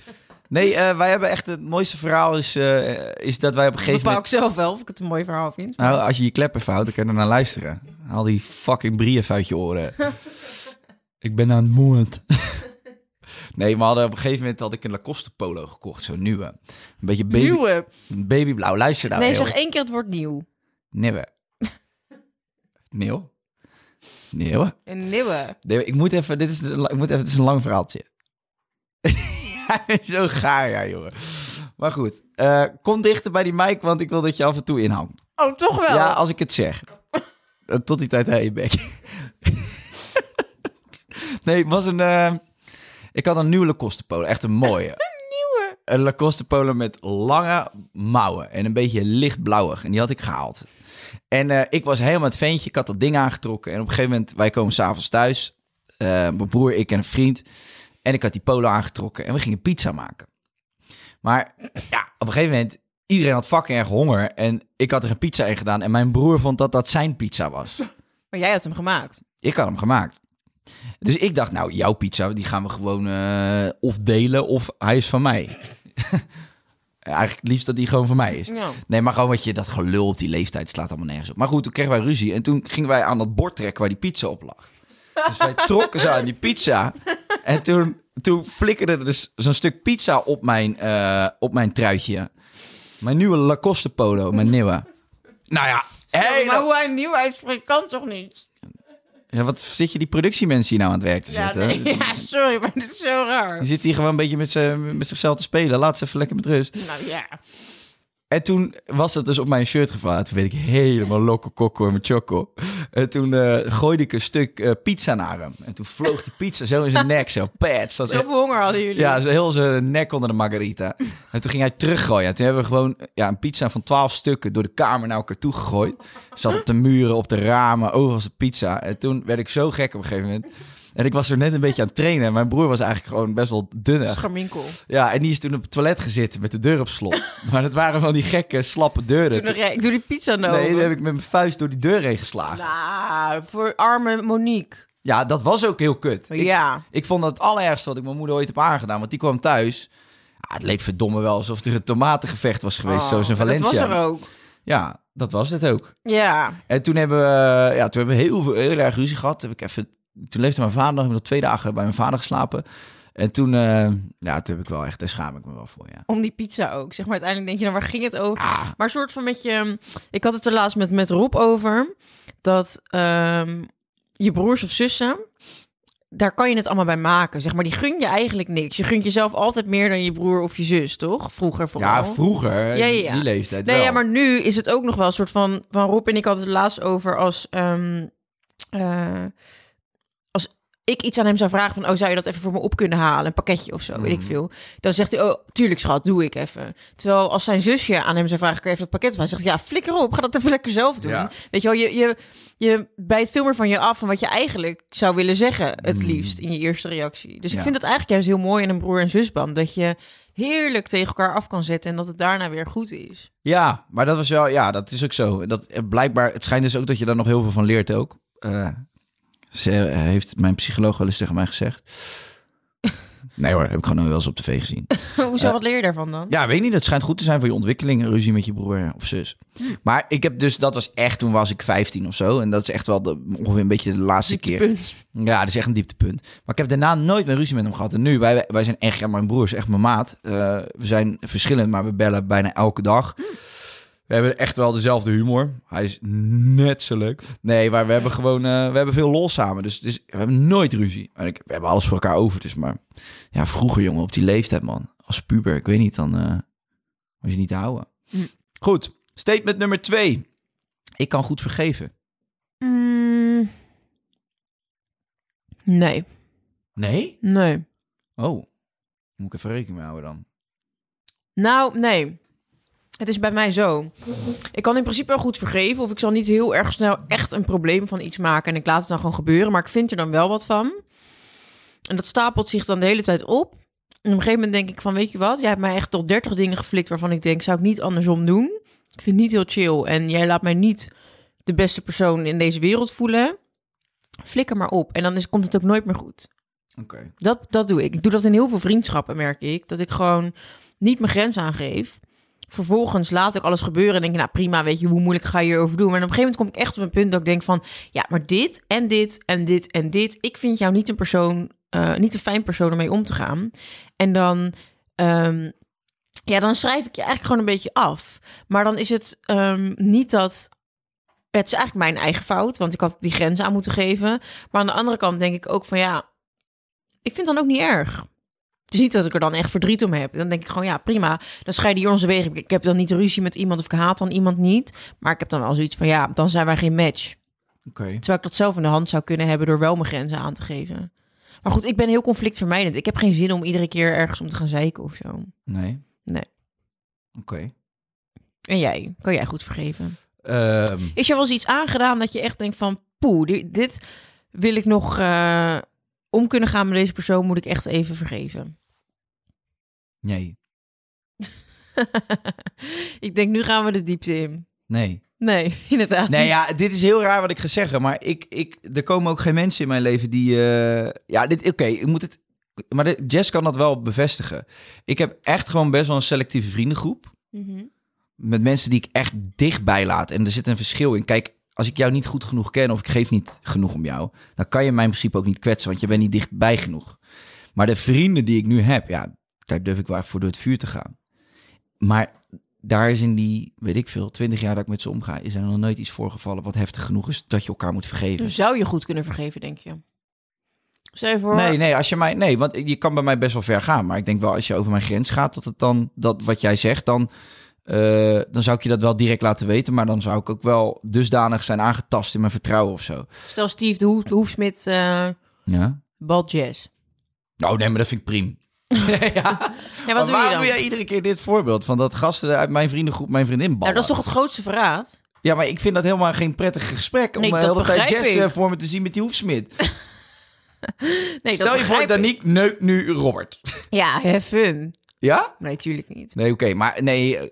Speaker 4: Nee, eh, wij hebben echt het mooiste verhaal is, eh, is dat wij op een
Speaker 3: Dat
Speaker 4: gegeven
Speaker 3: bepaal
Speaker 4: moment...
Speaker 3: ik zelf wel, of ik het een mooi verhaal vind.
Speaker 4: Nou, als je je kleppen verhoudt, dan kan je er naar luisteren. Haal die fucking brief uit je oren. [laughs] ik ben aan het moed. [laughs] nee, maar hadden, op een gegeven moment had ik een Lacoste polo gekocht, zo'n nieuwe. Een beetje baby,
Speaker 3: Nieuwe.
Speaker 4: babyblauw. Luister nou,
Speaker 3: nee,
Speaker 4: heel.
Speaker 3: zeg één keer het woord nieuw.
Speaker 4: Nieuwe. Nieuw. Nieuwe.
Speaker 3: Een nieuwe.
Speaker 4: Nee, ik moet even, dit is, de- ik moet even, het is een lang verhaaltje. [laughs] Hij is zo gaar, ja, jongen. Maar goed, eh, kom dichter bij die mic, want ik wil dat je af en toe inhangt.
Speaker 3: Oh, toch wel?
Speaker 4: Ja, als ik het zeg. Eh, Tot die tijd, hé, je bek. [laughs] nee, het was een... eh, ik had een nieuwe Lacoste polo, echt een
Speaker 3: [laughs]
Speaker 4: mooie.
Speaker 3: nieuwe.
Speaker 4: Een Lacoste polo met lange mouwen en een beetje lichtblauwig. En die had ik gehaald. En eh, ik was helemaal het ventje. Ik had dat ding aangetrokken. En op een gegeven moment, wij komen s'avonds thuis. Eh, mijn broer, ik en een vriend. En ik had die polo aangetrokken. En we gingen pizza maken. Maar ja, op een gegeven moment, iedereen had fucking erg honger. En ik had er een pizza in gedaan. En mijn broer vond dat dat zijn pizza was.
Speaker 3: Maar jij had hem gemaakt.
Speaker 4: Ik had hem gemaakt. Dus ik dacht, nou, jouw pizza, die gaan we gewoon eh, of delen of hij is van mij. [laughs] Eigenlijk het liefst dat die gewoon van mij is.
Speaker 3: Ja.
Speaker 4: Nee, maar gewoon wat je dat gelul op die leeftijd slaat allemaal nergens op. Maar goed, toen kregen wij ruzie en toen gingen wij aan dat bord trekken waar die pizza op lag. Dus
Speaker 3: [laughs]
Speaker 4: wij trokken ze aan die pizza en toen, toen flikkerde er dus zo'n stuk pizza op mijn, eh, op mijn truitje. Mijn nieuwe Lacoste polo, mijn nieuwe. Nou ja,
Speaker 3: maar
Speaker 4: helemaal...
Speaker 3: hoe hij nieuw uitspreekt, kan toch niet?
Speaker 4: Ja, wat zit je die productiemensen hier nou aan het werk te
Speaker 3: Ja,
Speaker 4: zetten?
Speaker 3: nee, ja, sorry, maar dit is zo raar.
Speaker 4: Die zit hier gewoon een beetje met, z'n- met zichzelf te spelen. Laat ze even lekker met rust.
Speaker 3: Nou ja.
Speaker 4: En toen was dat dus op mijn shirt gevallen. Toen werd ik helemaal loco coco en mijn choco. En toen eh, gooide ik een stuk eh, pizza naar hem. En toen vloog die pizza zo in zijn nek. Zo, pets. Dat
Speaker 3: Zoveel honger hadden jullie.
Speaker 4: ja, zo heel zijn nek onder de margarita. En toen ging hij teruggooien. En toen hebben we gewoon ja, een pizza van 12 stukken door de kamer naar elkaar toe gegooid. Zat op de muren, op de ramen, overal de pizza. En toen werd ik zo gek op een gegeven moment. En ik was er net een beetje aan het trainen. En mijn broer was eigenlijk gewoon best wel dunner.
Speaker 3: [laughs] Scharminkel.
Speaker 4: Ja, en die is toen op het toilet gezeten met de deur
Speaker 3: [laughs]
Speaker 4: op slot. Maar dat waren van die gekke, slappe deuren.
Speaker 3: Toen nog, ja, ik doe die pizza nou.
Speaker 4: Nee, toen heb ik met mijn vuist door die deur heen geslagen.
Speaker 3: Nou, voor arme Monique.
Speaker 4: Ja, dat was ook heel kut. Ik,
Speaker 3: ja.
Speaker 4: ik vond dat het allerergste wat ik mijn moeder ooit heb aangedaan. Want die kwam thuis. Ah, het leek verdomme wel alsof er een tomatengevecht was geweest,
Speaker 3: Oh,
Speaker 4: zoals in
Speaker 3: maar
Speaker 4: Valencia.
Speaker 3: Dat was er ook.
Speaker 4: Ja, dat was het ook.
Speaker 3: Ja.
Speaker 4: En toen hebben we, ja, toen hebben we heel, veel, heel erg ruzie gehad. Toen Heb ik even, toen leefde mijn vader nog, ik heb nog twee dagen bij mijn vader geslapen. En toen, eh, ja, toen heb ik wel echt, daar schaam ik me wel voor, ja.
Speaker 3: Om die pizza ook. Zeg maar, uiteindelijk denk je, nou, waar ging het over?
Speaker 4: Ah,
Speaker 3: Maar soort van met je... Ik had het er laatst met, met Rob over. Dat ehm, je broers of zussen... Daar kan je het allemaal bij maken. Zeg maar, die gun je eigenlijk niks. Je gunt jezelf altijd meer dan je broer of je zus, toch? Vroeger vooral.
Speaker 4: ja, vroeger,
Speaker 3: Ja, ja, ja.
Speaker 4: die leeftijd
Speaker 3: Nee,
Speaker 4: wel.
Speaker 3: ja, maar nu is het ook nog wel een soort van... Van Rob en ik hadden het laatst over als... ehm, eh, als ik iets aan hem zou vragen van... Oh, zou je dat even voor me op kunnen halen? Een pakketje of zo, weet
Speaker 4: Mhm.
Speaker 3: ik veel. Dan zegt hij, oh, tuurlijk schat, doe ik even. Terwijl als zijn zusje aan hem zou vragen... Kun je even dat pakket Hij zegt, ja, flikker op. Ga dat even lekker zelf doen.
Speaker 4: Ja.
Speaker 3: Weet je wel, je, je, je bijt veel meer van je af... van wat je eigenlijk zou willen zeggen het liefst in je eerste reactie. Dus
Speaker 4: Mhm. Ja.
Speaker 3: ik vind dat eigenlijk juist heel mooi in een broer- en zusband. Dat je heerlijk tegen elkaar af kan zetten... en dat het daarna weer goed is.
Speaker 4: Ja, maar dat was wel, ja, dat is ook zo. En Dat, eh, blijkbaar, het schijnt dus ook dat je daar nog heel veel van leert ook. Eh, ze eh, heeft mijn psycholoog wel eens tegen mij gezegd. Nee hoor, heb ik gewoon wel eens op tv gezien.
Speaker 3: Hoezo, wat leer je daarvan dan?
Speaker 4: Ja, weet niet, het schijnt goed te zijn voor je ontwikkeling, een ruzie met je broer eh, of zus. Maar ik heb dus, dat was echt, toen was ik 15 of zo. En dat is echt wel de, ongeveer een beetje de laatste keer. Ja, dat is echt een dieptepunt. Maar ik heb daarna nooit meer ruzie met hem gehad. En nu, wij, wij zijn echt, ja, mijn broer is echt mijn maat. Eh, we zijn verschillend, maar we bellen bijna elke dag. We hebben echt wel dezelfde humor. Hij is net zo leuk. Nee, maar we hebben gewoon, eh, we hebben veel lol samen. Dus, het is- we hebben nooit ruzie. En ik, we hebben alles voor elkaar over. Dus maar, ja, vroeger jongen, op die leeftijd man. Als puber, ik weet niet, dan eh was je niet te houden. Goed, statement nummer twee. Ik kan goed vergeven.
Speaker 3: Mm. Nee,
Speaker 4: Nee?
Speaker 3: nee.
Speaker 4: Oh, moet ik even rekening mee houden dan.
Speaker 3: Nou, nee. Het is bij mij zo. Ik kan in principe wel goed vergeven. Of ik zal niet heel erg snel echt een probleem van iets maken. En ik laat het dan gewoon gebeuren. Maar ik vind er dan wel wat van. En dat stapelt zich dan de hele tijd op. En op een gegeven moment denk ik van, weet je wat? Jij hebt mij echt tot 30 dingen geflikt waarvan ik denk, zou ik niet andersom doen. Ik vind het niet heel chill. En jij laat mij niet de beste persoon in deze wereld voelen. Flikker maar op. En dan is, komt het ook nooit meer goed.
Speaker 4: Oké.
Speaker 3: Dat, dat doe ik. Ik doe dat in heel veel vriendschappen, merk ik. Dat ik gewoon niet mijn grens aangeef. Vervolgens laat ik alles gebeuren en denk ik, nou prima, weet je, hoe moeilijk ga je hierover doen? Maar op een gegeven moment kom ik echt op een punt dat ik denk van, ja, maar dit en dit en dit en dit. Ik vind jou niet een persoon, eh, niet een fijn persoon om mee om te gaan. En dan, ehm, ja, dan schrijf ik je eigenlijk gewoon een beetje af. Maar dan is het ehm, niet dat, het is eigenlijk mijn eigen fout, want ik had die grens aan moeten geven. Maar aan de andere kant denk ik ook van, ja, ik vind het dan ook niet erg. Het is niet dat ik er dan echt verdriet om heb. Dan denk ik gewoon, ja, prima. Dan scheiden je onze wegen. Ik heb dan niet ruzie met iemand of ik haat dan iemand niet. Maar ik heb dan wel zoiets van, ja, dan zijn wij geen match.
Speaker 4: Oké.
Speaker 3: Terwijl ik dat zelf in de hand zou kunnen hebben door wel mijn grenzen aan te geven. Maar goed, ik ben heel conflictvermijdend. Ik heb geen zin om iedere keer ergens om te gaan zeiken of zo.
Speaker 4: Nee.
Speaker 3: Nee.
Speaker 4: Oké.
Speaker 3: En jij? Kan jij goed vergeven?
Speaker 4: Ehm,
Speaker 3: Is je wel eens iets aangedaan dat je echt denkt van... Poeh, di- dit wil ik nog eh, om kunnen gaan met deze persoon. Moet ik echt even vergeven. [laughs]
Speaker 4: nee.
Speaker 3: ik denk, nu gaan we de diepte in.
Speaker 4: Nee.
Speaker 3: Nee, [laughs] inderdaad.
Speaker 4: Nee,
Speaker 3: niet.
Speaker 4: ja, dit is heel raar wat ik ga zeggen, maar ik, ik, er komen ook geen mensen in mijn leven die... eh, ja, dit, oké, ik moet het... Maar de, Jess kan dat wel bevestigen. Ik heb echt gewoon best wel een selectieve vriendengroep.
Speaker 3: Mhm.
Speaker 4: Met mensen die ik echt dichtbij laat. En er zit een verschil in. Kijk, als ik jou niet goed genoeg ken of ik geef niet genoeg om jou... dan kan je mij in principe ook niet kwetsen, want je bent niet dichtbij genoeg. Maar de vrienden die ik nu heb, ja, daar durf ik wel voor door het vuur te gaan. Maar daar is in die, weet ik veel, twintig jaar dat ik met ze omga, is er nog nooit iets voorgevallen wat heftig genoeg is dat je elkaar moet vergeven.
Speaker 3: Dan zou je goed kunnen vergeven, denk je. Stel je voor...
Speaker 4: Nee, nee, als je mij, nee, want je kan bij mij best wel ver gaan, maar ik denk wel als je over mijn grens gaat, dat het dan, dat wat jij zegt, dan, eh, dan zou ik je dat wel direct laten weten, maar dan zou ik ook wel dusdanig zijn aangetast in mijn vertrouwen of zo.
Speaker 3: Stel Steve de Hoef, de Hoefsmid eh
Speaker 4: Ja.
Speaker 3: balt jazz.
Speaker 4: Nou, nee, maar dat vind ik prima. ja.
Speaker 3: Ja, wat doe je
Speaker 4: maar waarom
Speaker 3: dan?
Speaker 4: doe jij iedere keer dit voorbeeld van dat gasten uit mijn vriendengroep mijn vriendin
Speaker 3: Nou,
Speaker 4: ballen?
Speaker 3: dat is toch het grootste verraad?
Speaker 4: Ja, maar ik vind dat helemaal geen prettig gesprek om
Speaker 3: Nee,
Speaker 4: eh,
Speaker 3: dat
Speaker 4: heel de tijd
Speaker 3: begrijp
Speaker 4: Jess
Speaker 3: ik.
Speaker 4: eh, voor me te zien met die hoefsmid.
Speaker 3: Nee,
Speaker 4: Stel
Speaker 3: dat
Speaker 4: je voor,
Speaker 3: begrijp ik.
Speaker 4: Daniek neukt nu Robert.
Speaker 3: Ja, have fun.
Speaker 4: Ja?
Speaker 3: Nee, tuurlijk niet.
Speaker 4: Nee, oké, maar nee, eh,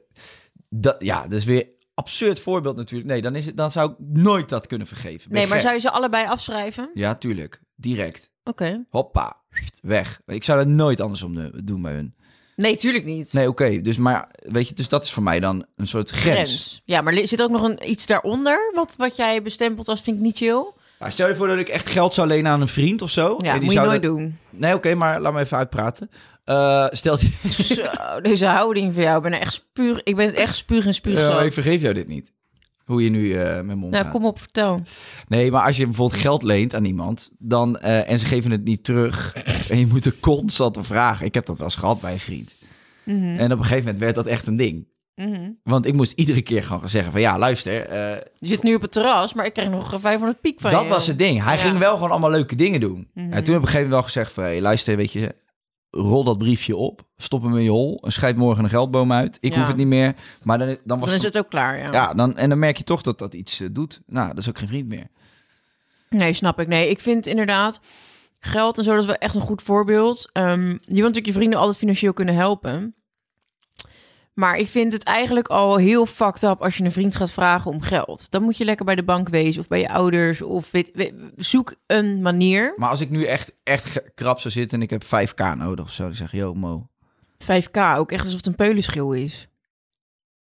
Speaker 4: dat, ja, dat is weer absurd voorbeeld natuurlijk. Nee, dan, is het, dan zou ik nooit dat kunnen vergeven. Ben
Speaker 3: Nee, maar
Speaker 4: gek.
Speaker 3: zou je ze allebei afschrijven?
Speaker 4: Ja, tuurlijk. Direct.
Speaker 3: Oké.
Speaker 4: Hoppa. Weg. Ik zou dat nooit andersom eh, doen bij hun.
Speaker 3: Nee, tuurlijk niet.
Speaker 4: Nee, oké. Dus, maar, weet je, dus dat is voor mij dan een soort grens.
Speaker 3: Ja, maar li- zit ook nog een, iets daaronder wat, wat jij bestempelt als vind ik niet chill?
Speaker 4: Ja, stel je voor dat ik echt geld zou lenen aan een vriend of zo.
Speaker 3: Ja,
Speaker 4: En
Speaker 3: moet je
Speaker 4: zou
Speaker 3: nooit
Speaker 4: dat- [laughs]
Speaker 3: doen.
Speaker 4: Nee, oké, maar laat me even uitpraten. Eh, stel die...
Speaker 3: Zo, deze houding van jou. Ik ben er echt spuur, ik ben het echt spuug en spuug
Speaker 4: [laughs] Ja,
Speaker 3: zo.
Speaker 4: ik vergeef jou dit niet. Hoe je nu eh, met me omgaat.
Speaker 3: Nou, kom op, vertel.
Speaker 4: Nee, maar als je bijvoorbeeld geld leent aan iemand dan, eh, en ze geven het niet terug
Speaker 3: [laughs]
Speaker 4: en je moet er constant om vragen. Ik heb dat wel eens gehad bij een vriend.
Speaker 3: Mhm.
Speaker 4: En op een gegeven moment werd dat echt een ding. Want ik moest iedere keer gewoon zeggen van ja, luister, eh,
Speaker 3: Je zit nu op het terras, maar ik krijg nog 500 piek van
Speaker 4: dat
Speaker 3: je.
Speaker 4: was het ding. Hij
Speaker 3: Ja. Mhm.
Speaker 4: ging wel gewoon allemaal leuke dingen doen. En toen heb ik op een gegeven moment wel gezegd van hey, luister, weet je, rol dat briefje op, stop hem in je hol en schijt morgen een geldboom uit. Ik
Speaker 3: Ja.
Speaker 4: hoef het niet meer. Maar dan, dan was
Speaker 3: Dan is het ook klaar, ja.
Speaker 4: Ja, dan, en dan merk je toch dat dat iets eh, doet. Nou, dat is ook geen vriend meer.
Speaker 3: Nee, snap ik. Nee, ik vind inderdaad geld en zo, dat is wel echt een goed voorbeeld. Ehm, je wilt natuurlijk je vrienden altijd financieel kunnen helpen. Maar ik vind het eigenlijk al heel fucked up als je een vriend gaat vragen om geld. Dan moet je lekker bij de bank wezen of bij je ouders. Of weet, weet- zoek een manier.
Speaker 4: Maar als ik nu echt, echt ge- krap zou zitten en ik heb 5k nodig of zo, dan zeg je, yo Mo.
Speaker 3: 5k, ook echt alsof het een peulenschil is.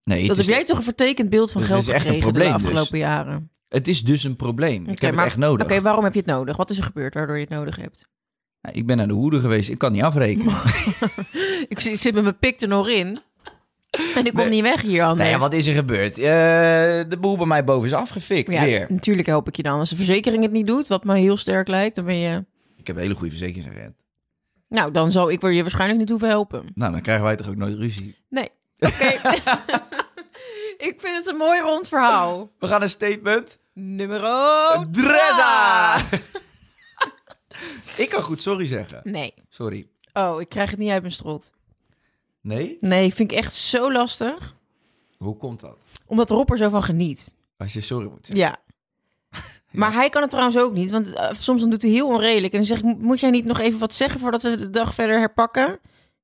Speaker 4: Nee, het
Speaker 3: Dat heb
Speaker 4: is,
Speaker 3: jij toch een vertekend beeld van
Speaker 4: Dat
Speaker 3: geld
Speaker 4: is echt een
Speaker 3: gekregen
Speaker 4: probleem
Speaker 3: de
Speaker 4: dus.
Speaker 3: afgelopen jaren.
Speaker 4: het is dus een probleem. ik
Speaker 3: Oké,
Speaker 4: heb
Speaker 3: maar-
Speaker 4: het echt nodig.
Speaker 3: Oké, waarom heb je het nodig? Wat is er gebeurd waardoor je het nodig hebt?
Speaker 4: Nou, ik ben aan de hoede geweest, ik kan niet afrekenen.
Speaker 3: Ik zit, ik zit met mijn pik er nog in. En ik kom niet weg hier, Anne.
Speaker 4: nou ja, wat is er gebeurd? Eh, de boel bij mij boven is afgefikt
Speaker 3: Ja,
Speaker 4: weer.
Speaker 3: natuurlijk help ik je dan. Als de verzekering het niet doet, wat me heel sterk lijkt, dan ben je...
Speaker 4: Ik heb een hele goede verzekeringsagent.
Speaker 3: Nou, dan zal ik je waarschijnlijk niet hoeven helpen.
Speaker 4: Nou, dan krijgen wij toch ook nooit ruzie.
Speaker 3: Nee. Oké. [laughs] ik vind het een mooi rond verhaal.
Speaker 4: We gaan een statement.
Speaker 3: Nummer oh,
Speaker 4: Dressa! [laughs] ik kan goed sorry zeggen.
Speaker 3: Nee.
Speaker 4: Sorry.
Speaker 3: Oh, ik krijg het niet uit mijn strot.
Speaker 4: Nee?
Speaker 3: Nee, vind ik echt zo lastig.
Speaker 4: Hoe komt dat?
Speaker 3: Omdat Rob er zo van geniet.
Speaker 4: Als je sorry moet zeggen.
Speaker 3: Ja. Maar hij kan het trouwens ook niet, want eh, soms dan doet hij heel onredelijk. En dan zeg ik, "Mo- moet jij niet nog even wat zeggen voordat we de dag verder herpakken? En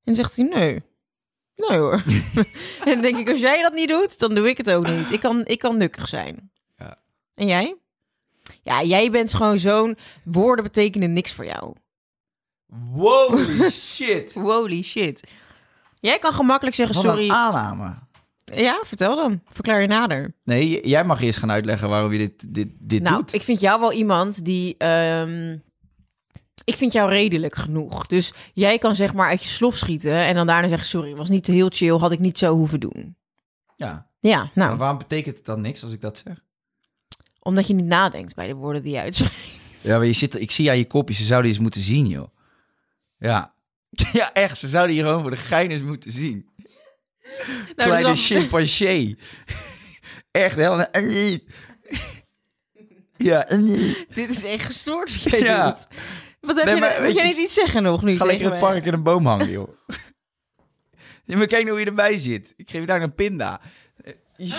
Speaker 3: dan zegt hij, nee. Nee hoor. [laughs] en dan denk ik, als jij dat niet doet, dan doe ik het ook niet. Ik kan, ik kan nukkig zijn.
Speaker 4: Ja.
Speaker 3: En jij? Ja, jij bent gewoon zo'n... Woorden betekenen niks voor jou.
Speaker 4: Holy shit.
Speaker 3: Holy shit. Jij kan gemakkelijk zeggen,
Speaker 4: Wat een
Speaker 3: sorry.
Speaker 4: aanname.
Speaker 3: Ja, vertel dan. Verklaar je nader.
Speaker 4: Nee, j- jij mag eerst gaan uitleggen waarom je dit, dit, dit
Speaker 3: nou,
Speaker 4: doet.
Speaker 3: ik vind jou wel iemand die. ehm, ik vind jou redelijk genoeg. Dus jij kan zeg maar uit je slof schieten en dan daarna zeggen: Sorry, was niet heel chill, had ik niet zo hoeven doen.
Speaker 4: Ja.
Speaker 3: Ja, nou,
Speaker 4: Maar waarom betekent het dan niks als ik dat zeg?
Speaker 3: omdat je niet nadenkt bij de woorden die je uitspreekt. [laughs]
Speaker 4: Ja, maar je zit, ik zie aan je kopje, ze zouden eens moeten zien, joh. Ja. [laughs] Ja, echt, ze zouden hier gewoon voor de gein eens moeten zien.
Speaker 3: Nou,
Speaker 4: Kleine
Speaker 3: dat is dan-
Speaker 4: chimpansee. [laughs] echt, helemaal...
Speaker 3: [laughs]
Speaker 4: Ja,
Speaker 3: Dit is echt gestoord wat jij
Speaker 4: [laughs] Ja.
Speaker 3: doet. Wat heb
Speaker 4: Nee,
Speaker 3: je,
Speaker 4: maar
Speaker 3: nou-
Speaker 4: weet
Speaker 3: moet jij
Speaker 4: je-
Speaker 3: niet iets zeggen nog nu
Speaker 4: ga
Speaker 3: tegen
Speaker 4: lekker in het
Speaker 3: mij?
Speaker 4: park in een boom hangen,
Speaker 3: [laughs]
Speaker 4: joh. Je moet kijken hoe je erbij zit. Ik geef je daar een pinda. Eh,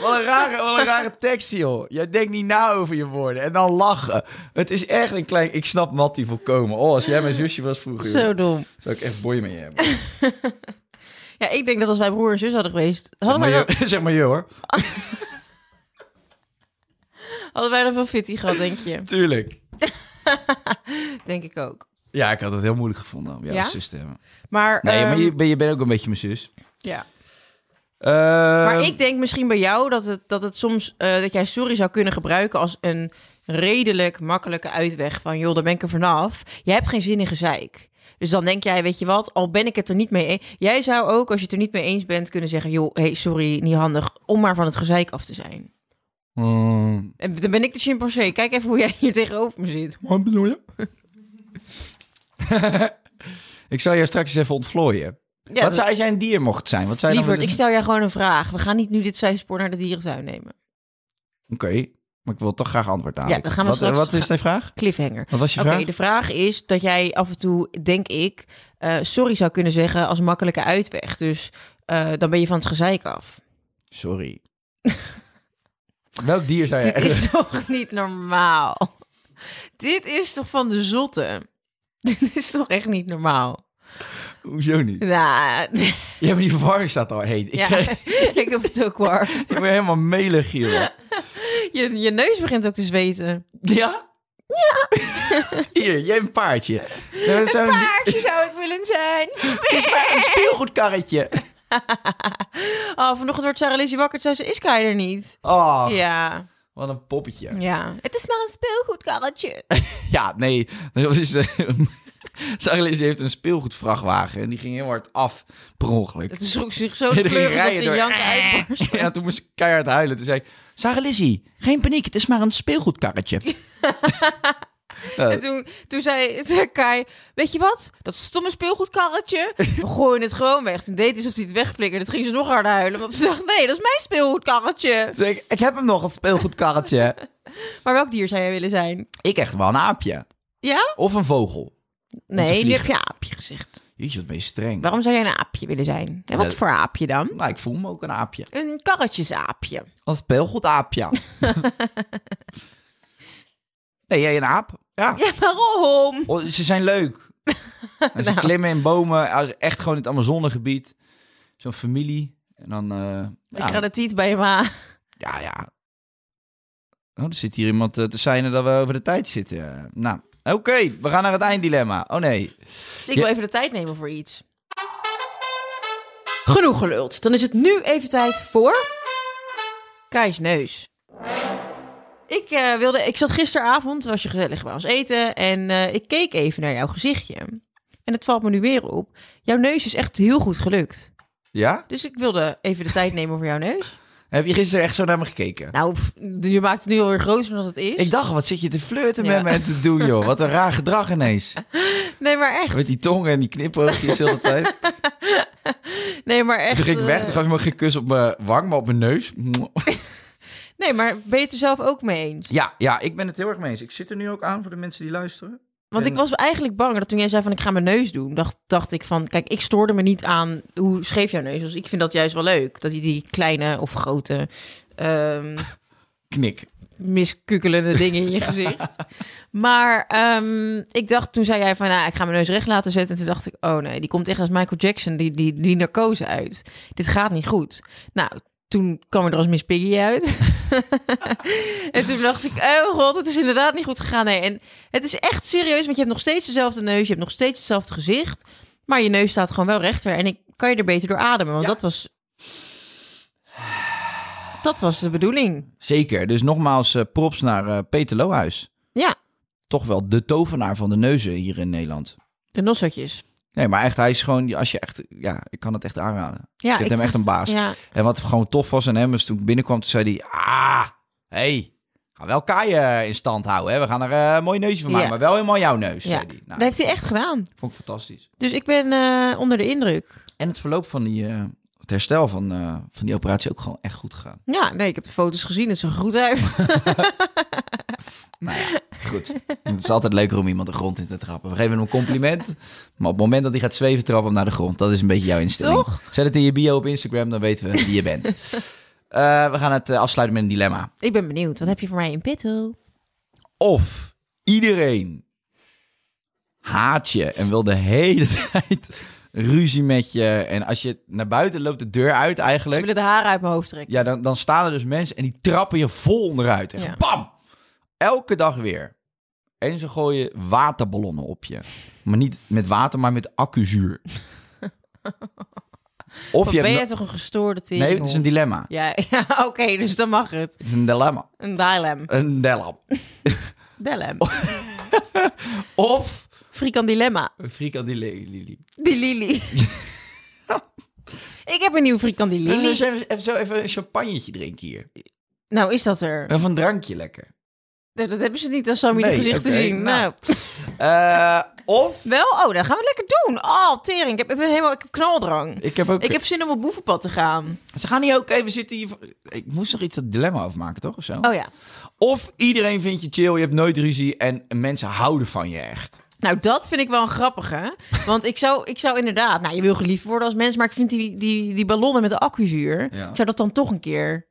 Speaker 4: Wat een, rare, wat een rare tekst, joh. Jij denkt niet na over je woorden. En dan lachen. Het is echt een klein... Ik snap Mattie volkomen. Oh, als jij mijn zusje was vroeger, joh,
Speaker 3: Zo dom.
Speaker 4: zou ik echt boeien mee hebben.
Speaker 3: Ja, ik denk dat als wij broer en zus hadden geweest, hadden,
Speaker 4: maar
Speaker 3: wij, dan,
Speaker 4: je, [laughs] zeg maar je, hoor.
Speaker 3: hadden wij dan veel fitty gehad, denk je?
Speaker 4: [laughs] Tuurlijk.
Speaker 3: Denk ik ook.
Speaker 4: Ja, ik had het heel moeilijk gevonden om jou
Speaker 3: Ja?
Speaker 4: als zus te hebben.
Speaker 3: Maar,
Speaker 4: Nee, maar
Speaker 3: ehm,
Speaker 4: je, ben- je bent ook een beetje mijn zus.
Speaker 3: ja.
Speaker 4: Ehm,
Speaker 3: Maar ik denk misschien bij jou dat het, dat het soms eh, dat jij sorry zou kunnen gebruiken als een redelijk makkelijke uitweg van joh, daar ben ik er vanaf. Je hebt geen zin in gezeik. Dus dan denk jij, weet je wat, al ben ik het er niet mee eens. Jij zou ook, als je het er niet mee eens bent, kunnen zeggen: joh, hey, sorry, niet handig. Om maar van het gezeik af te zijn.
Speaker 4: Hmm.
Speaker 3: En dan ben ik de chimpansee. Kijk even hoe jij hier tegenover me zit.
Speaker 4: Wat bedoel je? [laughs] ik zal jou straks eens even ontvlooien.
Speaker 3: Ja,
Speaker 4: wat zou als jij een dier mocht zijn? Wat zijn
Speaker 3: Lieverd, ik stel jou gewoon een vraag. We gaan niet nu dit zijspoor naar de dierentuin nemen.
Speaker 4: Oké, maar ik wil toch graag antwoord aan.
Speaker 3: Ja, dan gaan we
Speaker 4: wat,
Speaker 3: straks-
Speaker 4: Wat is de vraag?
Speaker 3: Cliffhanger.
Speaker 4: Wat was je
Speaker 3: Oké,
Speaker 4: vraag?
Speaker 3: de vraag is dat jij af en toe, denk ik, eh, sorry zou kunnen zeggen als makkelijke uitweg. Dus eh, dan ben je van het gezeik af.
Speaker 4: Sorry. Welk dier zou jij...
Speaker 3: Dit is [laughs] toch niet normaal? Dit is toch van de zotte? [laughs] Dit is toch echt niet normaal?
Speaker 4: [laughs] Hoezo niet?
Speaker 3: Nou,
Speaker 4: Ja, maar die verwarring staat al heet. Ik,
Speaker 3: [laughs] ja,
Speaker 4: krijg,
Speaker 3: ik heb het ook waar.
Speaker 4: ik ben helemaal melig hier. hoor.
Speaker 3: Je, je neus begint ook te zweten.
Speaker 4: Ja? [laughs] Ja. Hier, jij een paardje. Nou, dat zou een di-
Speaker 3: Paardje zou ik willen zijn.
Speaker 4: Het is maar een
Speaker 3: [laughs]
Speaker 4: speelgoedkarretje.
Speaker 3: Oh, vanochtend wordt Sarah Lizzie wakker. Toen zei ze, is Kai er niet?
Speaker 4: Oh,
Speaker 3: Ja,
Speaker 4: wat een poppetje.
Speaker 3: ja. Het is maar een speelgoedkarretje.
Speaker 4: Ja, nee. Dat is, eh, [laughs] Sarah Liz heeft een speelgoedvrachtwagen en die ging heel hard af per ongeluk.
Speaker 3: Het schrok zich zo
Speaker 4: Ja,
Speaker 3: de
Speaker 4: die
Speaker 3: kleur dat
Speaker 4: rijden
Speaker 3: ze
Speaker 4: door.
Speaker 3: janken uitbarst.
Speaker 4: [laughs] Ja, toen moest ik keihard huilen. Toen zei ik, Sarah Lizzie, geen paniek, het is maar een
Speaker 3: [laughs]
Speaker 4: speelgoedkarretje.
Speaker 3: En toen, toen, zei, toen zei Kai, weet je wat? Dat stomme speelgoedkarretje, [laughs] we gooien het gewoon weg. Toen deed hij alsof hij het wegflikkerde. Toen ging ze nog harder huilen, want ze dacht, nee, dat is mijn speelgoedkarretje.
Speaker 4: Toen zei ik, ik heb hem nog, een speelgoedkarretje.
Speaker 3: Maar welk dier zou jij willen zijn?
Speaker 4: ik echt wel een aapje.
Speaker 3: Ja?
Speaker 4: Of een vogel.
Speaker 3: Nee, nu heb
Speaker 4: vliegen.
Speaker 3: je aapje gezegd.
Speaker 4: Jeetje, wat ben je streng.
Speaker 3: Waarom zou jij een aapje willen zijn? En wat
Speaker 4: Ja.
Speaker 3: voor aapje dan?
Speaker 4: Nou, ik voel me ook een aapje.
Speaker 3: Een karretjesaapje. [laughs]
Speaker 4: Een speelgoedaapje. nee, jij een aap. Ja.
Speaker 3: Ja, waarom?
Speaker 4: Oh, ze zijn
Speaker 3: [laughs]
Speaker 4: leuk. En ze
Speaker 3: Nou.
Speaker 4: klimmen in bomen. als- Echt gewoon in het Amazonegebied. Zo'n familie. En dan... eh,
Speaker 3: Ik ga
Speaker 4: ja,
Speaker 3: de tiet bij je ma.
Speaker 4: ja, ja. Oh, er zit hier iemand eh, te zijn dat we over de tijd zitten. Nou, oké. we gaan naar het einddilemma. Oh nee.
Speaker 3: Ik wil even de tijd nemen voor iets. Genoeg geluld. Dan is het nu even tijd voor... Kai's neus. Ik, eh, wilde, ik zat gisteravond, was je gezellig bij ons eten... en eh, ik keek even naar jouw gezichtje. En het valt me nu weer op. Jouw neus is echt heel goed gelukt.
Speaker 4: Ja?
Speaker 3: Dus ik wilde even de tijd nemen voor jouw neus.
Speaker 4: Heb je gisteren echt zo naar me gekeken?
Speaker 3: Nou, pff, je maakt het nu alweer groter dan dat het is.
Speaker 4: Ik dacht, wat zit je te flirten
Speaker 3: Ja.
Speaker 4: met me en te doen, joh. Wat een raar gedrag ineens.
Speaker 3: Nee, maar [laughs]
Speaker 4: Met
Speaker 3: echt.
Speaker 4: die tongen en die knipoogjes de
Speaker 3: [laughs]
Speaker 4: hele tijd.
Speaker 3: Nee, maar echt.
Speaker 4: Toen ging ik weg,
Speaker 3: eh,
Speaker 4: toen gaf je me geen kus op mijn wang, maar op mijn neus.
Speaker 3: Nee, maar ben je het er zelf ook mee eens?
Speaker 4: Ja, ja, ik ben het heel erg mee eens. Ik zit er nu ook aan voor de mensen die luisteren.
Speaker 3: Want ik
Speaker 4: En-
Speaker 3: was eigenlijk bang dat toen jij zei van ik ga mijn neus doen, dacht, dacht ik van kijk, ik stoorde me niet aan hoe scheef jouw neus was. Ik vind dat juist wel leuk, dat hij die kleine of grote ehm
Speaker 4: Knik.
Speaker 3: miskukelende dingen in je gezicht. Maar ehm, ik dacht, toen zei jij van, nou, ik ga mijn neus recht laten zetten. En toen dacht ik, oh nee, die komt echt als Michael Jackson, die, die, die narcose uit. Dit gaat niet goed. Nou, toen kwam er als Miss Piggy uit. [laughs] en toen dacht ik, oh god, het is inderdaad niet goed gegaan. Nee, en het is echt serieus, want je hebt nog steeds dezelfde neus, je hebt nog steeds hetzelfde gezicht. Maar je neus staat gewoon wel recht weer. En ik kan je er beter door ademen, want
Speaker 4: Ja.
Speaker 3: dat was... Dat was de bedoeling.
Speaker 4: Zeker. Dus nogmaals eh, props naar eh, Peter Lohuis.
Speaker 3: Ja.
Speaker 4: Toch wel de tovenaar van de neuzen hier in Nederland.
Speaker 3: De nossotjes.
Speaker 4: Nee, maar echt, hij is gewoon, als je echt, ja, ik kan het echt aanraden.
Speaker 3: Ja,
Speaker 4: Ik vind hem echt een baas. Nou,
Speaker 3: Ja,
Speaker 4: En wat gewoon tof was aan hem, is toen ik binnenkwam, toen zei hij, ah, hey, ga wel kaaien in stand houden, hè. We gaan er eh, een mooi neusje van maken,
Speaker 3: Ja.
Speaker 4: maar wel helemaal jouw neus,
Speaker 3: ja.
Speaker 4: zei hij. Nou,
Speaker 3: dat heeft hij echt gedaan.
Speaker 4: vond ik fantastisch.
Speaker 3: Dus ik ben eh, onder de indruk.
Speaker 4: En het verloop van die, eh, het herstel van, eh, van die operatie ook gewoon echt goed gegaan.
Speaker 3: Ja, nee, ik heb de foto's gezien. Het zag er goed uit. [laughs]
Speaker 4: Nou ja, [laughs] goed. het is altijd leuker om iemand de grond in te trappen. We geven hem een compliment. Maar op het moment dat hij gaat zweven, trappen we hem naar de grond. Dat is een beetje jouw instelling.
Speaker 3: Toch?
Speaker 4: Zet het in je bio op Instagram, dan weten we wie je [laughs] bent. Eh, we gaan het eh, afsluiten met een dilemma.
Speaker 3: ik ben benieuwd. Wat heb je voor mij in petto?
Speaker 4: Of iedereen haat je en wil de hele [laughs] tijd ruzie met je. En als je naar buiten loopt, de deur uit
Speaker 3: Ze
Speaker 4: eigenlijk.
Speaker 3: willen de haren uit mijn hoofd trekken.
Speaker 4: Ja, dan, dan staan er dus mensen en die trappen je vol onderuit. En
Speaker 3: Ja.
Speaker 4: bam! Elke dag weer. En ze gooien waterballonnen op je. Maar niet met water, maar
Speaker 3: [laughs]
Speaker 4: met accuzuur. of
Speaker 3: Of
Speaker 4: je
Speaker 3: ben
Speaker 4: hebt...
Speaker 3: jij toch een gestoorde
Speaker 4: no-
Speaker 3: tering?
Speaker 4: Nee, het is een dilemma.
Speaker 3: Ja, [laughs] ja oké, dus dan mag het.
Speaker 4: Het is een dilemma.
Speaker 3: Een dilem.
Speaker 4: Een dilemma.
Speaker 3: Dilem.
Speaker 4: Oh. Of...
Speaker 3: Frikant dilemma.
Speaker 4: Een frikandilili.
Speaker 3: Die
Speaker 4: [laughs]
Speaker 3: Lili. ik heb een nieuw frikant die Lili.
Speaker 4: Dus even, even zo even een champagnetje drinken hier.
Speaker 3: Nou, is dat er?
Speaker 4: Of een drankje lekker.
Speaker 3: Nee, Dat hebben ze niet aan Sammy
Speaker 4: Nee,
Speaker 3: de gezichten
Speaker 4: oké,
Speaker 3: zien.
Speaker 4: nou.
Speaker 3: nou.
Speaker 4: Eh, of...
Speaker 3: Wel? Oh, dan gaan we lekker doen. Oh, tering. Ik heb, ik ben helemaal, ik heb knaldrang.
Speaker 4: Ik heb ook...
Speaker 3: Ik heb zin om op boevenpad te gaan.
Speaker 4: Ze gaan hier ook even zitten hier... Ik moest nog iets dat dilemma over maken, toch? Of zo?
Speaker 3: Oh ja.
Speaker 4: Of iedereen vindt je chill, je hebt nooit ruzie en mensen houden van je echt.
Speaker 3: Nou, dat vind ik wel een grappige. Want ik zou, ik zou inderdaad... Nou, je wil geliefd worden als mens... maar ik vind die, die, die ballonnen met de accuzuur...
Speaker 4: Ja.
Speaker 3: zou dat dan toch een keer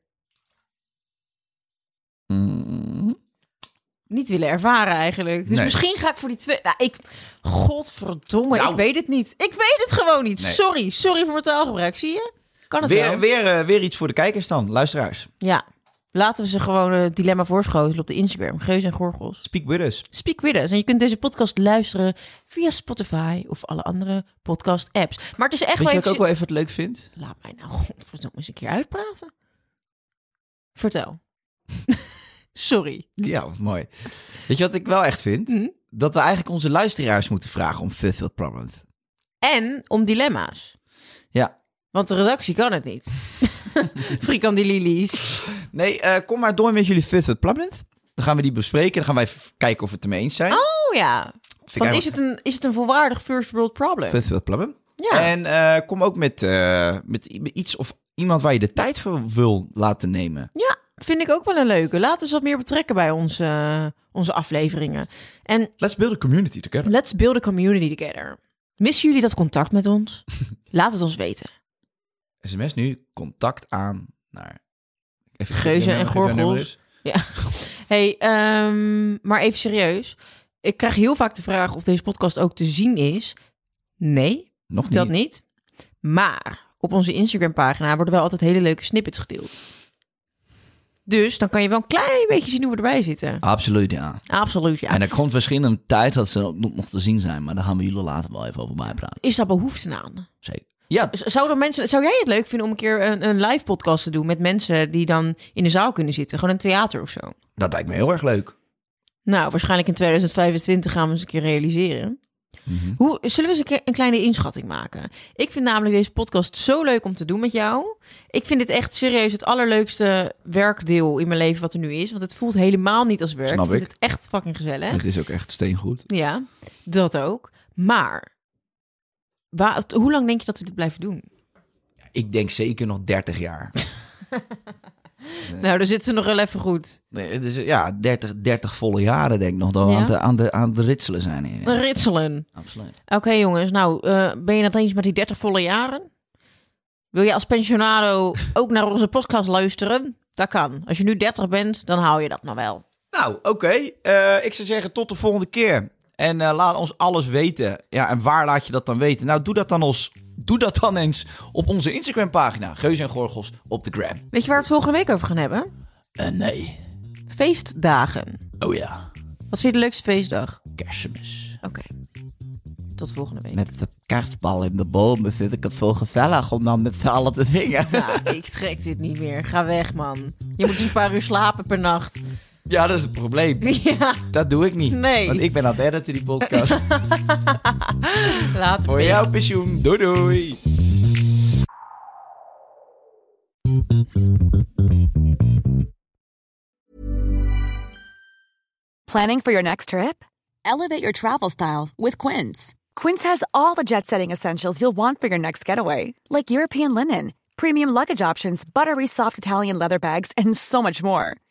Speaker 3: niet willen ervaren eigenlijk. Dus
Speaker 4: Mm. Nee.
Speaker 3: misschien ga ik voor die twee... Nou, ik... Godverdomme,
Speaker 4: Nou.
Speaker 3: ik weet het niet. Ik weet het gewoon niet.
Speaker 4: Nee.
Speaker 3: Sorry. Sorry voor mijn taalgebruik. Zie je? Kan het wel.
Speaker 4: Weer, weer, eh, weer iets voor de kijkers dan, luisteraars.
Speaker 3: Ja. Laten we ze gewoon eh, het dilemma voorschotelen op de Instagram. Geus en Gorgels.
Speaker 4: Speak with us.
Speaker 3: Speak With Us. En je kunt deze podcast luisteren via Spotify of alle andere podcast-apps. Maar het is echt
Speaker 4: Weet je
Speaker 3: wel
Speaker 4: wat ik ook wel even wat leuk vind?
Speaker 3: Laat mij nou [laughs] godverdomme eens een keer uitpraten. Vertel. [laughs] Sorry.
Speaker 4: Ja, wat mooi. Weet je wat ik wel echt vind?
Speaker 3: Hm?
Speaker 4: Dat we eigenlijk onze luisteraars moeten vragen om fulfilled problems.
Speaker 3: En om dilemma's.
Speaker 4: Ja.
Speaker 3: Want de redactie kan het niet. [laughs] Frikandililies.
Speaker 4: Nee, eh, kom maar door met jullie fulfilled problems. Dan gaan we die bespreken en dan gaan wij f- kijken of we het ermee eens zijn.
Speaker 3: Oh ja.
Speaker 4: Vind ik
Speaker 3: Van, is,
Speaker 4: eigenlijk-
Speaker 3: het een, is het een volwaardig first world problem?
Speaker 4: Fulfilled problem.
Speaker 3: Ja.
Speaker 4: En eh, kom ook met, eh, met i- iets of iemand waar je de tijd voor wil laten nemen.
Speaker 3: Ja, vind ik ook wel een leuke. Laten we wat meer betrekken bij onze, onze afleveringen. En
Speaker 4: Let's build a community together.
Speaker 3: Let's build a community together. Missen jullie dat contact met
Speaker 4: [laughs]
Speaker 3: ons? Laat het ons weten.
Speaker 4: sms nu contact aan naar... Even
Speaker 3: Geuzen
Speaker 4: even-
Speaker 3: en
Speaker 4: even een nummer
Speaker 3: gorgels.
Speaker 4: is.
Speaker 3: Hey, ehm, maar even serieus. Ik krijg heel vaak de vraag of deze podcast ook te zien is. Nee,
Speaker 4: Nog niet.
Speaker 3: dat niet. Maar op onze Instagram-pagina worden wel altijd hele leuke snippets gedeeld. Dus dan kan je wel een klein beetje zien hoe we erbij zitten.
Speaker 4: Absoluut, ja.
Speaker 3: Absoluut, ja.
Speaker 4: En er komt misschien een tijd dat ze nog nog te zien zijn, maar daar gaan we jullie later wel even over bijpraten.
Speaker 3: Is daar behoefte aan?
Speaker 4: Zeker. Ja,
Speaker 3: Z- Zouden mensen, zou jij het leuk vinden om een keer een, een live podcast te doen met mensen die dan in de zaal kunnen zitten? Gewoon een theater of zo?
Speaker 4: dat lijkt me heel erg leuk.
Speaker 3: Nou, waarschijnlijk in 2025 gaan we eens een keer realiseren.
Speaker 4: Mhm.
Speaker 3: Hoe, zullen we eens een, ke- een kleine inschatting maken? Ik vind namelijk deze podcast zo leuk om te doen met jou. Ik vind dit echt serieus het allerleukste werkdeel in mijn leven wat er nu is. Want het voelt helemaal niet als werk.
Speaker 4: Snap
Speaker 3: ik vind
Speaker 4: ik.
Speaker 3: het echt fucking gezellig.
Speaker 4: Het is ook echt steengoed.
Speaker 3: Ja, dat ook. Maar wa- t- hoe lang denk je dat we dit blijven doen?
Speaker 4: Ik denk zeker nog 30 jaar.
Speaker 3: Nou, daar zit ze nog wel even goed.
Speaker 4: [laughs] Nee, het is, ja, 30, 30 volle jaren denk ik nog dat we
Speaker 3: Ja?
Speaker 4: aan, de, aan, de, aan het ritselen zijn. Hier.
Speaker 3: Ritselen.
Speaker 4: Absoluut.
Speaker 3: Oké jongens, nou eh, ben je het eens met die 30 volle jaren? Wil je als pensionado ook naar onze podcast luisteren? Dat kan. Als je nu 30 bent, dan hou je dat nog wel.
Speaker 4: Nou, oké. Eh, ik zou zeggen tot de volgende keer. En eh, laat ons alles weten. Ja, en waar laat je dat dan weten? Nou, doe dat dan, ons, doe dat dan eens op onze Instagram-pagina. Geus en Gorgels op de gram.
Speaker 3: Weet je waar we het volgende week over gaan hebben?
Speaker 4: Eh, nee.
Speaker 3: Feestdagen.
Speaker 4: Oh ja,
Speaker 3: Wat vind je de leukste feestdag?
Speaker 4: kerstmis.
Speaker 3: Oké. Tot volgende week.
Speaker 4: Met de kerstbal in de bomen vind ik het zo gezellig om dan met z'n allen te zingen.
Speaker 3: Ja, ik trek dit niet meer. Ga weg, man. Je moet dus een paar uur slapen per nacht.
Speaker 4: [laughs]
Speaker 3: [laughs]
Speaker 4: Ja, dat is het probleem.
Speaker 3: Ja,
Speaker 4: Dat doe ik niet.
Speaker 3: Nee.
Speaker 4: Want ik ben aan het editen die [laughs] podcast.
Speaker 3: later.
Speaker 4: Voor
Speaker 3: pik.
Speaker 4: jouw pensioen. Doei doei.
Speaker 5: Planning for your next trip? Elevate your travel style with Quince. Quince has all the jet setting essentials you'll want for your next getaway, like European linen, premium luggage options, buttery soft Italian leather bags, and so much more.